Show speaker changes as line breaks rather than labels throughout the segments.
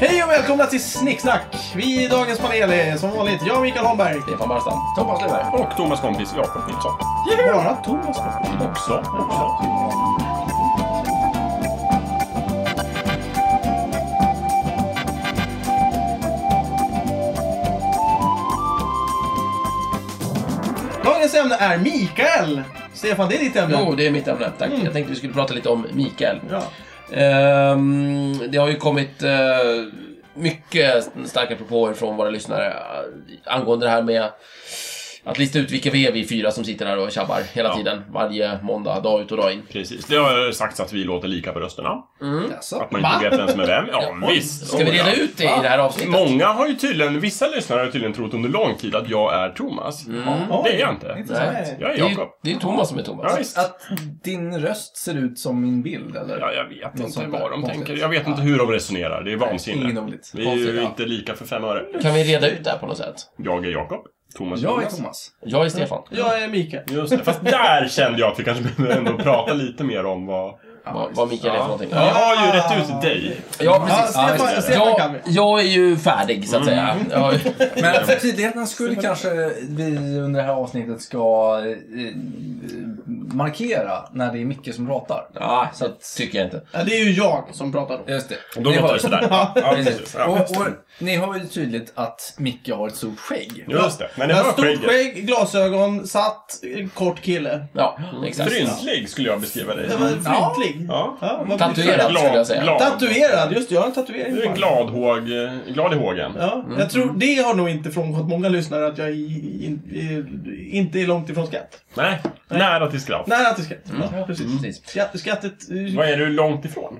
Hej och välkomna till Snicksnack! Vi i dagens panel är som vanligt jag, Mikael Holmberg.
Stefan Barstam.
Thomas Löfberg.
Och Thomas kompis Jakob Nilsson.
Bara Thomas Nilsson.
Också. också.
Dagens ämne är Mikael. Stefan, det är ditt ämne.
Jo, det är mitt ämne. Tack.
Mm.
Jag tänkte vi skulle prata lite om Mikael.
Ja.
Ehm, det har ju kommit eh, mycket starka propåer från våra lyssnare eh, angående det här med att lista ut vilka vi är, vi fyra som sitter här och tjabbar hela
Ja.
tiden. Varje måndag, dag ut och dag in.
Precis. Det har sagts att vi låter lika på rösterna.
Jaså?
Att man inte
Va?
vet vem som är vem. Ja, visst.
Ska vi
Oh, ja.
reda ut det i det här avsnittet?
Många har ju tydligen, vissa lyssnare har tydligen trott under lång tid att jag är Thomas.
Mm.
Oj.
Det är jag inte.
Intressant.
Jag är
Det är, ju,
Jakob.
det är ju Thomas som är Thomas.
Ja, visst.
Att din röst ser ut som min bild, eller?
Ja, jag vet
Något
inte
sånt
vad de
där.
tänker. Jag vet inte hur de resonerar. Det är
Ingen
vansinne.
roligt.
Vi är ju inte lika för fem öre.
Kan vi reda ut det här på något sätt?
Jag är Jakob. Thomas
Jag är Thomas.
Jag är Stefan.
Jag är Mikael.
Just det. Fast där kände jag att vi kanske behöver ändå prata lite mer om vad...
Vad, vad Mikael är för någonting.
Vi har ju rätt ut dig.
Ja, precis.
Ja, Stefan-
precis.
Stefan kan
jag,
vi. Mm.
jag är ju färdig, så att säga. Jag,
Men för tydlighetens skull kanske vi under det här avsnittet ska eh, eh, markera när det är Micke som pratar.
ja, så att, tycker jag inte.
Ja, det är ju jag som pratar då.
Just det.
Då
Ni
låter
har-
det sådär. Ja, precis.
Precis.
Ja.
Och, och ni hör ju tydligt att Micke har ett stort skägg.
Just det. Men det
Men
var
stort
skägget.
skägg, glasögon, satt, eh, kort kille.
Ja, exakt.
Fryntlig skulle jag beskriva dig
Det
som.
var fryntlig.
Ja.
Ja, vad-
Mm. Tatuerad,
Glad-
skulle jag säga.
glad.
Tatuerad, just det. Jag har en tatuering.
Du är en
på
glad, håg, glad i hågen.
Ja,
Mm.
jag tror det har nog inte frångått många lyssnare att jag i- in, i- inte är långt ifrån skratt.
Nej, nära till skratt.
Nära till skratt. Ja,
Mm,
precis.
Precis.
Skratt, skrattet... eh,
Vad är du långt ifrån?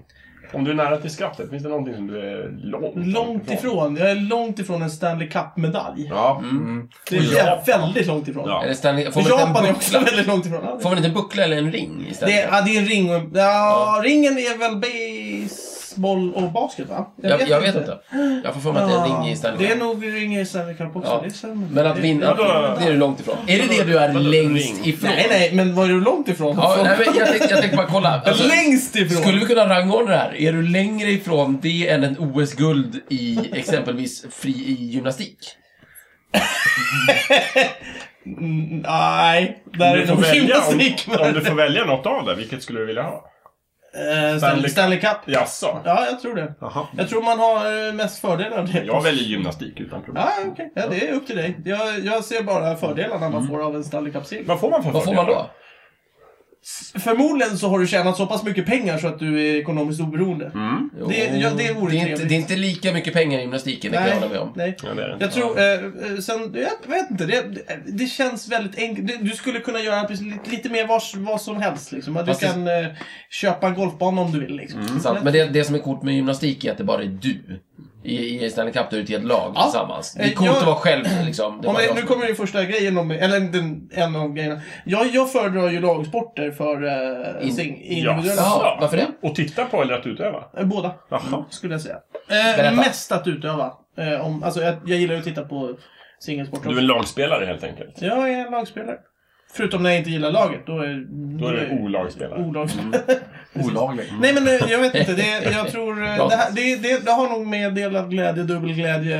Om du är nära till skrattet, finns det någonting som du är långt,
Långt ifrån. Jag är långt ifrån en Stanley Cup-medalj.
Ja.
Det är jag väldigt långt ifrån.
Ja.
Eller Stanley, får
För
man inte en
Japan är också
buckla?
väldigt långt ifrån. Ja,
Får man inte en buckla eller en ring
Det, det,
istället?
är- ja, det är en ring och en... Ja, ringen är väl baseball och basket, va?
jag, jag vet inte. Jag får för mig att det är en ring i Stanley
Det är
Cup.
nog ring i Stanley Cup också.
Ja.
Det stämmer.
Men att vinna,
Ja, då-
det är du långt ifrån. Är det det du är
Vadå,
längst
ring?
ifrån?
Nej, nej, men var är du långt ifrån?
Ja, nej men jag tänkte, jag tänkte bara kolla. Alltså,
Längst ifrån!
skulle vi kunna rangordna det här? Är du längre ifrån det än en OS-guld i exempelvis fri i gymnastik?
Mm, nej,
Om
där
du,
är
får
nog
välja,
gymnastik.
om,
men-
om du får välja något av det, vilket skulle du vilja ha?
Eh, Stanley, Stanley Cup.
Jaså?
Ja, jag tror det.
Jaha.
Jag tror man har eh, mest fördelar av det.
Jag väljer gymnastik utan problem.
Ja, okej. Ja, det är upp till dig. Jag, jag ser bara fördelarna
Mm.
man får av en Stanley Cup-seger.
Vad får man för
Vad får man då?
Förmodligen så har du tjänat så pass mycket pengar så att du är ekonomiskt oberoende.
Mm.
Det- ja, det vore
det, är inte,
trevligt.
det är inte lika mycket pengar i gymnastiken, det kan jag hålla med om.
nej.
Ja, det är det.
Jag tror, eh, eh, sen, jag vet inte, det, det- det känns väldigt enkelt. Du- Du skulle kunna göra precis li- lite mer vars, vad som helst liksom. Du
Fast det-
kan eh, köpa en golfbana om du vill liksom.
Mm, Sant. Men det, det som är coolt med gymnastik är att det bara är du. I, i Stanley Cup, då är det ett helt lag
Ja.
tillsammans. Det är
Eh,
coolt
jag-
att vara själv liksom. Det är
Om
bara
jag,
jag
nu
som-
kommer ju första grejen om, eller den, en av grejerna. Jag, jag föredrar ju lagsporter för eh,
In-
sing, individuella.
Jaha,
Ja.
varför det?
Och titta på eller att utöva?
Eh, Båda,
Jaha.
skulle jag säga.
Berätta.
Eh, mest att utöva. Eh, om, alltså, jag, jag gillar ju att titta på singelsport
Du är
också.
en lagspelare helt enkelt.
Jag är en lagspelare. Förutom när jag inte gillar laget, då är,
Då är du olagspelare.
olagspelare.
Olaglig.
Nej men eh, jag vet inte, det, jag tror... eh, Det, här, det, det, det har nog med delad glädje, dubbel glädje,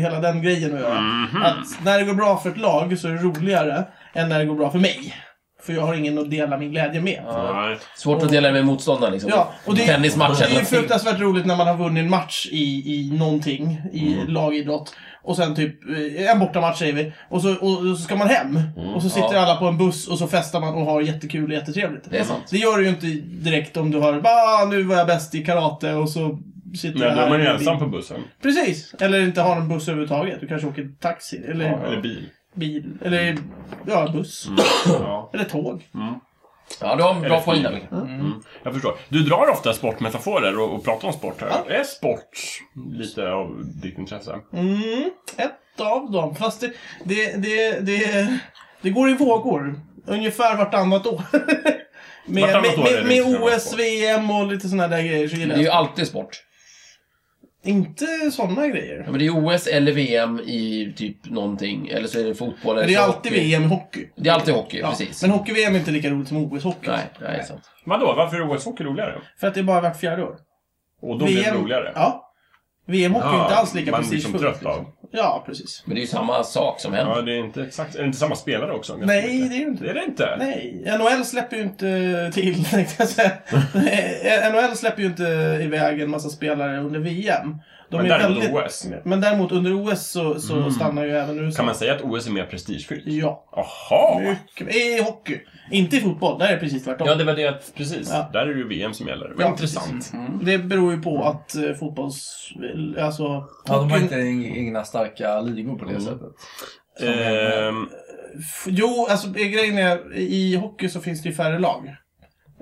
hela den grejen att göra.
Mm.
Att när det går bra för ett lag så är det roligare än när det går bra för mig. För jag har ingen att dela min glädje med.
Nej.
Svårt att dela det med motståndaren liksom.
Ja, och det, det
Tennismatchen.
är ju fruktansvärt roligt när man har vunnit en match i, i någonting, i
Mm.
lagidrott. Och sen typ eh, en bortamatch säger vi. Och så, och, och så ska man hem. Och så sitter
Mm. Ja.
alla på en buss och så festar man och har jättekul och jättetrevligt.
Det är sant.
Det gör du ju inte direkt om du har bara nu var jag bäst i karate och så sitter jag
Men då är
här.
man ju
i-
ensam på bussen.
Precis! Eller inte har en buss överhuvudtaget. Du kanske åker taxi eller
Eller bil.
bil. Eller ja, buss.
Mm.
Ja.
Eller tåg.
Ja, du har en bra
Eller
poäng
flyg.
där.
Mm.
Mm. Jag förstår. Du drar ofta sportmetaforer och, och pratar om sport här. Är sport lite av ditt intresse?
Mm, ett av dem. Fast det, det, det, det, det går i vågor. Ungefär vartannat år. med,
Vartannat år är
med,
det liksom
med,
inte
med
samma
OS,
sport.
VM och lite sådana där grejer så
Det
gillar
är ju
jag.
alltid sport.
Inte sådana grejer.
Ja, men det är OS eller VM i typ någonting. Eller så är det fotboll eller
Men det är
så
alltid
hockey.
VM i hockey.
Det är alltid hockey,
Ja,
precis.
Men hockey-VM är inte lika roligt som OS-hockey.
Nej, nej, det är sant.
Vadå, varför är OS-hockey roligare?
För att det är bara vart fjärde år.
Och då blir det roligare?
Ja. VM-hockey är inte alls lika
man blir som
prestigefullt.
trött
liksom.
av.
Ja, precis.
Men det är ju samma sak som händer.
Ja, det är inte exakt... Är det inte samma spelare också? ganska
Nej,
mycket?
det är ju inte
det är det inte.
Nej, NHL släpper ju inte till, tänkte jag säga. Eh, NHL släpper ju inte iväg en massa spelare under VM. De
Men
är
däremot
väldigt...
OS. är mer-
Men däremot under OS så, så stannar ju även USA.
Kan man säga att OS är mer prestigefyllt?
Ja.
Jaha!
Mycket. I hockey. Inte i fotboll, där är det precis tvärtom.
Ja, det var det att... Precis.
Ja.
Där är det ju VM som gäller. Vad
Ja,
intressant.
Det beror ju på att eh, fotbolls... Alltså...
Ja, de har
hockeyn-
inte egna starka ligor på det
Mm.
sättet. Som
Ehm,
F- Jo, alltså eh, grejen är, i hockey så finns det ju färre lag.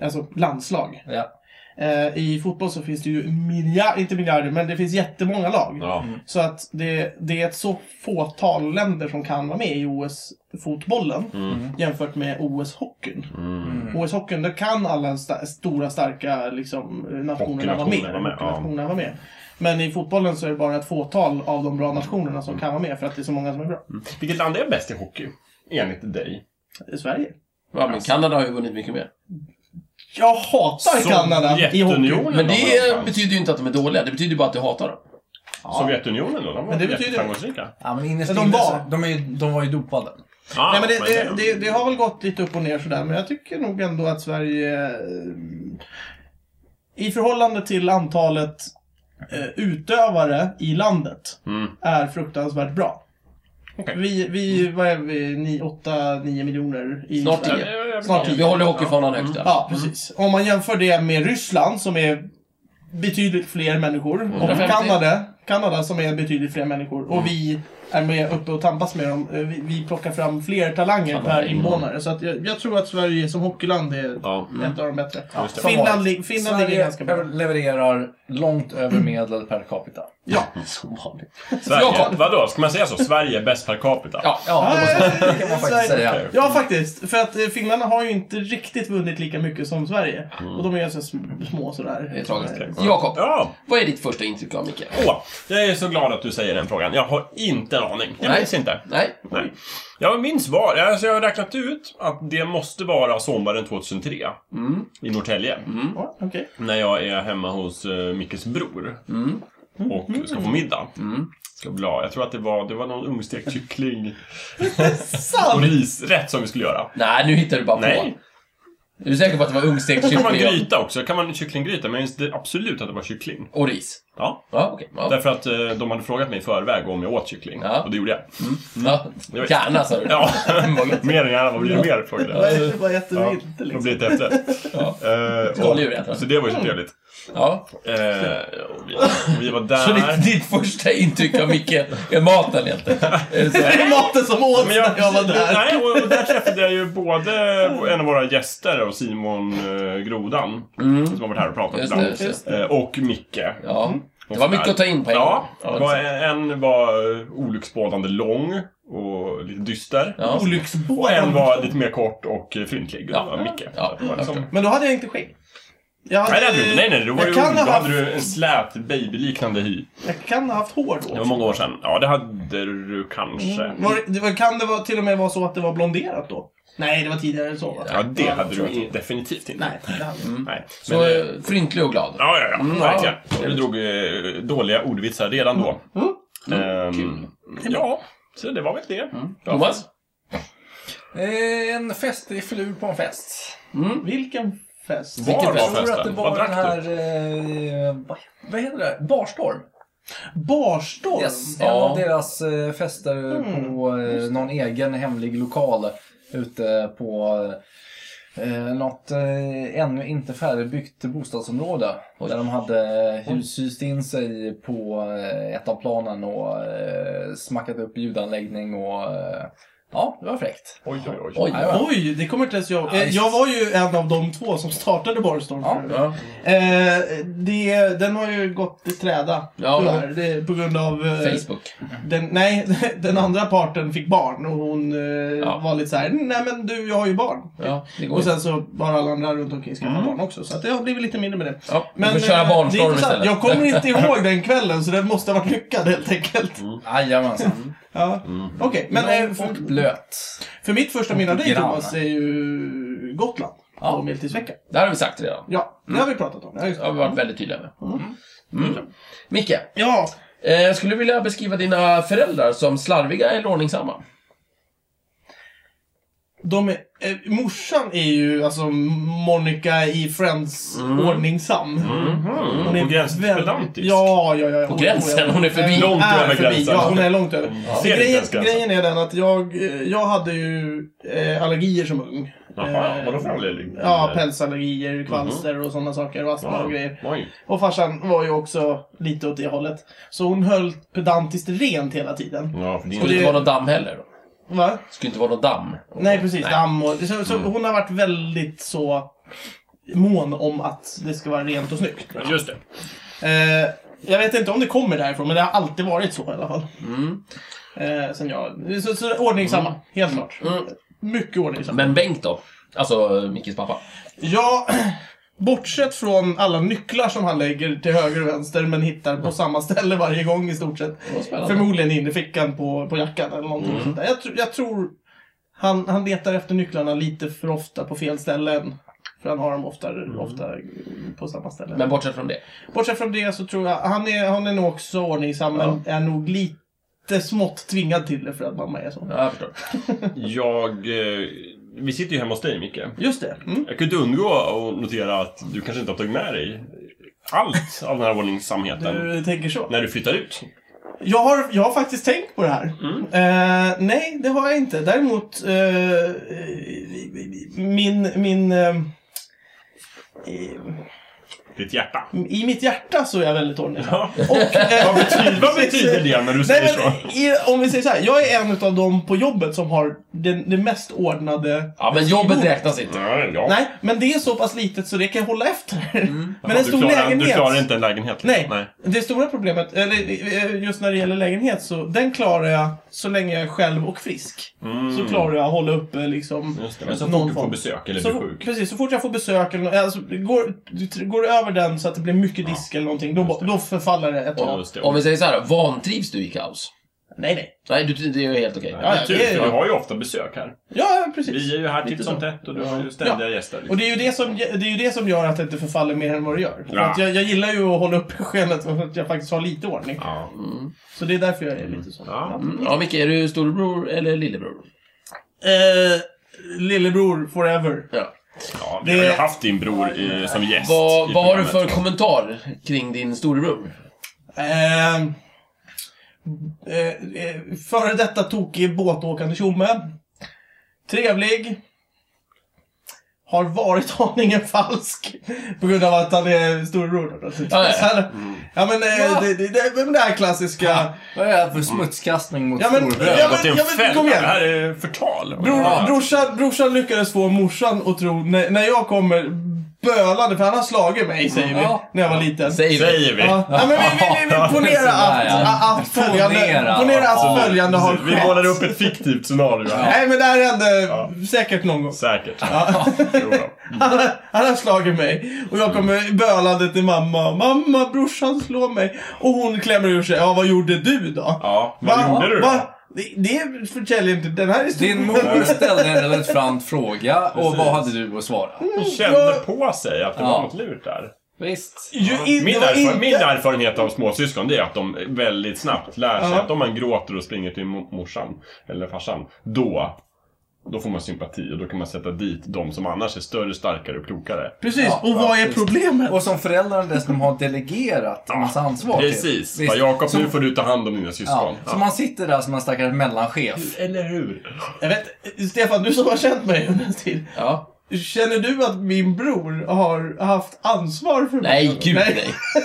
Alltså landslag.
Ja.
Eh, I fotboll så finns det ju miljarder, inte miljarder, men det finns jättemånga lag.
ja.
Så att det, det är ett så fåtal länder som kan vara med i OS-fotbollen
Mm.
jämfört med OS-hockeyn. OS-hockeyn, där kan alla sta- stora starka liksom, nationerna vara med.
Hockeynationer vara med, ja.
Hockeynationerna vara med. Men i fotbollen så är det bara ett fåtal av de bra nationerna
Mm.
som kan vara med för att det är så många som är bra.
Vilket land är bäst i hockey? Enligt dig. Mm.
Sverige.
Ja, men Kanada har ju vunnit mycket mer.
Jag hatar Kanada i hockey.
Sovjetunionen
Men
då,
det
någonstans.
betyder ju inte att de är dåliga, det betyder ju bara att du hatar dem.
Sovjetunionen då? De var
Men det
jätte-
betyder-
framgångsrika.
Ja, men innerst
Men de
inne så-
var-
de, är, ju- de var ju dopade.
Ah,
Nej, men det,
man
det,
säger.
det, det har väl gått lite upp och ner sådär, men jag tycker nog ändå att Sverige eh, i förhållande till antalet eh, utövare i landet
Mm.
är fruktansvärt bra.
Okej.
Vi, vi, vad är vi, Ni- åtta, nio miljoner i
Snart
Sverige.
Ja, det är- jag vet
Snart
inte.
Typ, Vi håller hockeyfanan högt där.
Ja, precis. Om man jämför det med Ryssland som är betydligt fler människor och
150.
Kanada, Kanada som är betydligt fler människor och vi är med uppe och tampas med dem. Eh, Vi, vi plockar fram fler talanger
Talanger,
per
ja.
invånare. Så att jag, jag tror att Sverige som hockeyland är
Ja.
ett av de bättre.
just det.
Finland, lig- Finland ligger ganska
Sverige
bra.
levererar långt över medel per capita.
Ja.
Som vanligt.
Sverige,
Jakob.
vadå? Ska man säga så? Sverige är bäst per capita?
Ja,
Ja, det, måste,
Nej,
det kan
Sverige-
man faktiskt säga.
Okej.
Ja, faktiskt. För att eh, finnarna har ju inte riktigt vunnit lika mycket som Sverige. Och de är ganska sm- små sådär.
Mm. det är tragiskt.
Eh,
Jakob,
Ja.
vad är ditt första intryck av Mikael?
Åh, jag är så glad att du säger den frågan. Jag har inte en aning. Jag
Nej.
minns inte.
Nej?
Nej. Jag minns var. Alltså jag har räknat ut att det måste vara sommaren 2003
Mm.
i Norrtälje.
ja, Okej.
När jag är hemma hos uh, Mickes bror
Mm.
och ska få middag.
Mm.
Ska bli glad. Jag tror att det var, det var någon ungstekt kyckling och
Sant!
risrätt som vi skulle göra.
Nej, nu hittar du bara på.
Nej.
Är du säker på att det var ungstekt
Kan man
kyckling
gryta också? Kan man kycklinggryta? Men jag minns det- absolut att det var kyckling.
och ris?
Ja.
Ja, okej. Ja.
Därför att eh, de hade frågat mig i förväg om jag åt kyckling.
Ja.
Och det gjorde jag.
Ja. Gärna, sa du.
Ja,
Vad gött.
mer än gärna. Vad blir det mer? frågade jag.
Det var
Alltså, Ja,
jättevilt liksom.
Då blir det ett efterrätt.
Ja.
Eh,
Skål, djurrätten.
och- Så det var ju så trevligt.
Ja.
Eh, och vi, vi var
Så ditt,
där.
ditt första intryck av Micke är maten egentligen? Är det så?
Det är maten som åt när jag, var där.
Nej, och, och där träffade jag ju både en av våra gäster och Simon eh, Grodan. Som har varit här och
Mm.
pratat
Just
ibland.
det, just
Eh, och Micke.
Ja. Det var mycket att ta in på en
Ja,
gång.
det var, en var eh, olycksbådande lång och lite dyster.
Ja.
Och en
Olycksbåten.
var lite mer kort och eh, fryntlig.
Ja.
Det var Micke.
Ja,
Det var liksom-
okej.
Men då hade jag inte skägg. Jag, hade,
Nej, det hade du inte. Nej, nej, då, var
jag,
du,
kan
ung.
ha
då hade
haft,
du en slät babyliknande hy.
jag kan ha haft hår då.
Det var många år sedan. Ja, det hade du kanske.
Mm, Var, det- det var, kan det vara, till och med vara så att det var blonderat då? Nej, det var tidigare än så va?
Ja, det hade du i- definitivt inte.
Nej, det hade jag inte.
Nej. Men,
Så
eh,
eh, fryntlig och glad.
ja, ja, ja.
Mm,
verkligen.
ja.
Du drog eh, dåliga ordvitsar redan då.
Mm.
Ehm, ja, så det var väl det. Ja.
Thomas?
Eh, En fest i förlur på en fest.
Vilken fest.
Var
Vilken
var
fest?
Jag tror att det
festen? Vad
var den
drack du?
här... Eh, vad- vad heter det? Barstorm.
Barstorm.
Yes, en
Ja.
av deras eh, fester på eh, någon egen hemlig lokal ute på eh, något eh, ännu inte färdigbyggt bostadsområde. Där de hade hus, hyst in sig på eh, ett av planen och eh, smackat upp ljudanläggning och eh, ja, det var fräckt.
Oj, oj, oj.
Oj.
Jajamän.
Oj, det kommer inte ens jag eh, Jag var ju en av de två som startade Barstorm.
Ja.
förut.
Ja.
Eh, det, den har ju gått i träda,
Ja.
tyvärr. Det, på grund av... eh,
Facebook.
Den, nej, den andra parten fick barn och hon eh,
Ja.
var lite så här: nej men du, jag har ju barn.
Ja, det går
Och
ju.
sen så har alla andra runt omkring skaffat barn också. Så att det har blivit lite mindre med det.
Ja,
Men,
du får köra
eh, det är
barnstorm
intressant.
istället.
Jag kommer inte ihåg den kvällen så den måste ha varit lyckad helt enkelt.
Mm.
Jajamensan.
Ja. Okej, men eh,
Lång och
för,
blöt.
för mitt första minne av dig
Grann.
Thomas är ju Gotland.
Ja.
Och medeltidsvecka.
Det här har vi sagt redan.
Ja, det har vi pratat om. Ja, just
Det Mm. har
det.
vi varit väldigt tydliga med. Mm. Micke,
ja
Eh, Jag skulle vilja beskriva dina föräldrar som slarviga eller ordningsamma.
De är, eh, morsan är ju alltså Monica i Friends
Mm.
ordningsam. Hon
Mhm. På liksom. gränsen till
väldigt-
pedantisk.
Ja, ja, ja. ja. På
gränsen, hon är förbi.
Långt över gränsen.
Ja, hon är långt över.
Ser inte
Grejen,
ens gränsen.
grejen är den att jag, eh, jag hade ju eh, allergier som ung.
Jaha,
Eh,
vadå för anledning?
Ja,
Eh,
pälsallergier, kvalster och sådana saker. Och astma och grejer.
Oj.
Och farsan var ju också lite åt det hållet. Så hon höll pedantiskt rent hela tiden.
Ja, för din...
Skulle
det-
inte vara någon damm heller. då.
Va?
Skulle inte vara någon damm.
Nej, precis. Damm och... Så, så
Mm.
hon har varit väldigt så mån om att det ska vara rent och snyggt.
Just det.
Eh, jag vet inte om det kommer därifrån, men det har alltid varit så i alla fall.
Mm.
Eh, sen jag... Så, så ordningsamma, helt klart.
Mm.
Mycket ordningsamma.
Men Bengt då? Alltså eh, Mickes pappa.
Ja, bortsett från alla nycklar som han lägger till höger och vänster men hittar på samma ställe varje gång i stort sett.
Mm. Vad spännande. Mm.
Förmodligen in i fickan på, på jackan eller någonting sånt där. Jag, tr- jag tror han, han letar efter nycklarna lite för ofta på fel ställen. För han har dem ofta, ofta på samma ställe.
Men bortsett från det.
Bortsett från det så tror jag, han är, han är nog också ordningsam men är nog lite smått tvingad till det för att mamma är så.
Ja, jag förstår.
Jag... eh, Vi sitter ju hemma hos dig, Micke.
Just det. Mm.
Jag kunde undgå att notera att du kanske inte har tagit med dig allt av den här ordningsamheten
Du tänker så.
när du flyttar ut.
Jag har, jag har faktiskt tänkt på det här.
Mm.
Eh, nej, det har jag inte. Däremot eh, min... min eh, i-
Ditt hjärta.
I mitt hjärta så är jag väldigt ordningsam.
Ja.
Och, eh,
Vad betyder, vad betyder det när du säger
Nej,
så?
men, i, om vi säger så här, jag är en av de på jobbet som har den, det mest ordnade...
Ja, men jobbet räknas inte.
Nej, ja. Mm.
Nej, men det är så pass litet så det kan jag hålla efter. Men
Ja,
en
du
stor
klarar,
lägenhet...
Du klarar inte en lägenhet.
Nej.
Nej.
Det stora problemet, eller eh, just när det gäller lägenhet, så den klarar jag så länge jag är själv och frisk. Så klarar jag att hålla uppe liksom
Mm. Just det. Men så
någon
fort du
form.
får besök eller
så,
blir
fort-
sjuk.
Precis, så fort jag får besök eller nå- alltså, det går, det går det över den så att det blir mycket disk eller någonting, då, ba- då förfaller det ett tag.
Just det.
Om vi säger så här, vantrivs du i kaos?
Nej, nej.
Nej, du, det är ju helt okej.
Ja, det är tur,
det är-
för vi har ju ofta besök här.
Ja, precis.
Vi är ju här
Lite
titt som
så.
tätt och du har ju ständiga gäster.
Och
Liksom.
det är, ju det, som, det är ju det som gör att det inte förfaller mer än vad det gör. För
Ja.
att jag, jag gillar ju att hålla uppe skenet för att jag faktiskt har lite ordning.
Ja.
Så det är därför jag är lite så.
Ja.
Mm, Ja, Micke, är du storebror eller lillebror?
Eh, lillebror forever.
Ja.
Ja, vi har ju
Det-
haft din bror i, som gäst.
Vad,
i
vad har du för
programmet.
kommentar kring din storebror?
Eh, eh, eh, före detta tokig båtåkande tjomme. Trevlig. Har varit aningen falsk. På grund av att han är storebror. då, naturligtvis.
Ja, ja.
Så han-
Mm.
Ja men eh, det, det, det, men det här klassiska.
Vad är det här för smutskastning mot
Ja, men-
storebror?
ja,
Det har gått i en
men-
fälla.
kom igen.
Det här är förtal.
Bror,
Ja.
brorsan, brorsan lyckades få morsan att tro, när, när jag kommer bölande, för han har slagit mig säger vi,
Ja.
när jag var liten.
Säger vi.
Säger vi.
Ja, ja, men vi, vi, vi, vi ponera
Sådär,
att,
ja.
att, att följande,
Ponera.
ponera
Ja.
att följande har
Vi
skett.
målar upp ett fiktivt scenario här.
Nej men det här hände säkert någon gång.
Säkert. Jo då.
Han, har- han har slagit mig. Och jag kommer bölande till mamma. Mamma, brorsan slår mig. Och hon klämmer ur sig. Ja, vad gjorde du då?
Ja, vad
Va?
gjorde du
Va?
då?
Det, det förtäljer inte den här historien.
Din mor ställde en relevant fråga och vad hade du att svara?
Hon kände på sig att det var
Ja.
något lurt där.
Visst.
Ju in-
Min,
det var
erfa-
inte-
min erfarenhet av småsyskon det är att de väldigt snabbt lär sig
Ja.
att om man gråter och springer till mo- morsan eller farsan, då, då får man sympati och då kan man sätta dit de som annars är större, starkare och klokare.
Precis,
Ja,
och vad
ja,
är
just.
problemet?
Och som föräldrar dessutom har delegerat en massa ansvar
Precis!
till.
Bara,
Visst.
Jakob, nu
Som-
får du ta hand om dina syskon.
Ja, så man sitter där som en stackars mellanchef.
Eller hur?
Jag vet, Stefan, du som har känt mig under en tid.
Ja.
Känner du att min bror har haft ansvar för mig?
Nej, gud nej.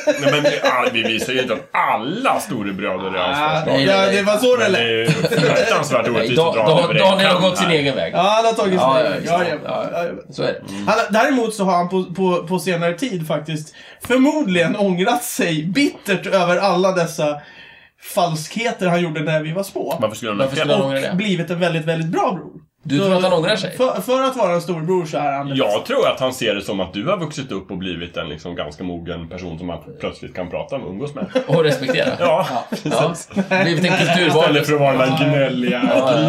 Nej, men vi, ah, vi visar ju inte att alla storebröder är
Ah,
ansvarstagande.
nej,
ja, det var så det
Men det är
lät.
ju fruktansvärt
nej
orättvist
Dan-
att dra
Dan-
över en
Daniel har
kam
gått sin
här.
egen väg.
Ja, han har tagit
Ja,
sig.
ja,
Ja,
visst.
ja, ja,
Ja, Så är det.
Han, däremot så har han på, på, på senare tid faktiskt förmodligen ångrat sig bittert över alla dessa falskheter han gjorde när vi var små.
Varför skulle han ha
Varför skulle han
fel?
ångra det?
Blivit en väldigt, väldigt bra bror.
Du tror att han ångrar sig?
För, för att vara en storbror så är han det.
Jag tror att han ser det som att du har vuxit upp och blivit en liksom ganska mogen person som man plötsligt kan prata med och umgås med.
Och respektera?
Ja,
Ja. Blivit en kulturvarelse. Mm.
Istället för att vara den där gnälliga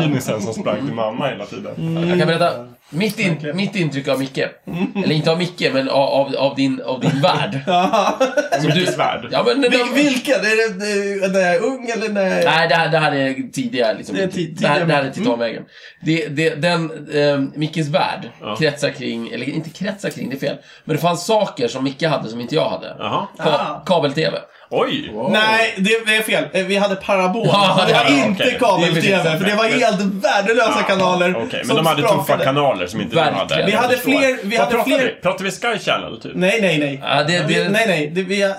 grinisen som sprang till mamma hela tiden.
Jag kan berätta, Mitt, in,
Verkligen.
mitt intryck av Micke, eller inte av Micke, men av, av, av din, av din värld.
Ja.
Som du-
svärd.
Ja, men,
Vil, vilken? Är det eh, när jag är ung eller när jag...
Nej, det här, det här är tidigare. Liksom,
Det är ti-
det, här,
tidigare. Mm.
det här är titanvägen. Det, det, den, eh, Mickes värld
Ja.
kretsar kring, eller inte kretsar kring, det är fel. Men det fanns saker som Micke hade som inte jag hade.
Jaha.
Ka-
Ah.
Kabel-TV.
Oj!
Nej, det, det är fel. Eh, Vi hade parabol.
Ja,
det var
ja,
inte
okej.
Det är
kabel-tv,
precis.
för det var
Men-
helt värdelösa
Ah,
kanaler.
Okej, men
som
de hade tuffa
sprakade.
kanaler som inte du hade.
Verkligen.
Vi
Jag
hade
förstår.
fler- vi
Vad
hade
pratar
fler-
Vi? Pratar vi Sky Channel, typ?
Nej, nej, nej.
Ja, Ah, det,
Vi,
det,
nej, nej. Det, vi,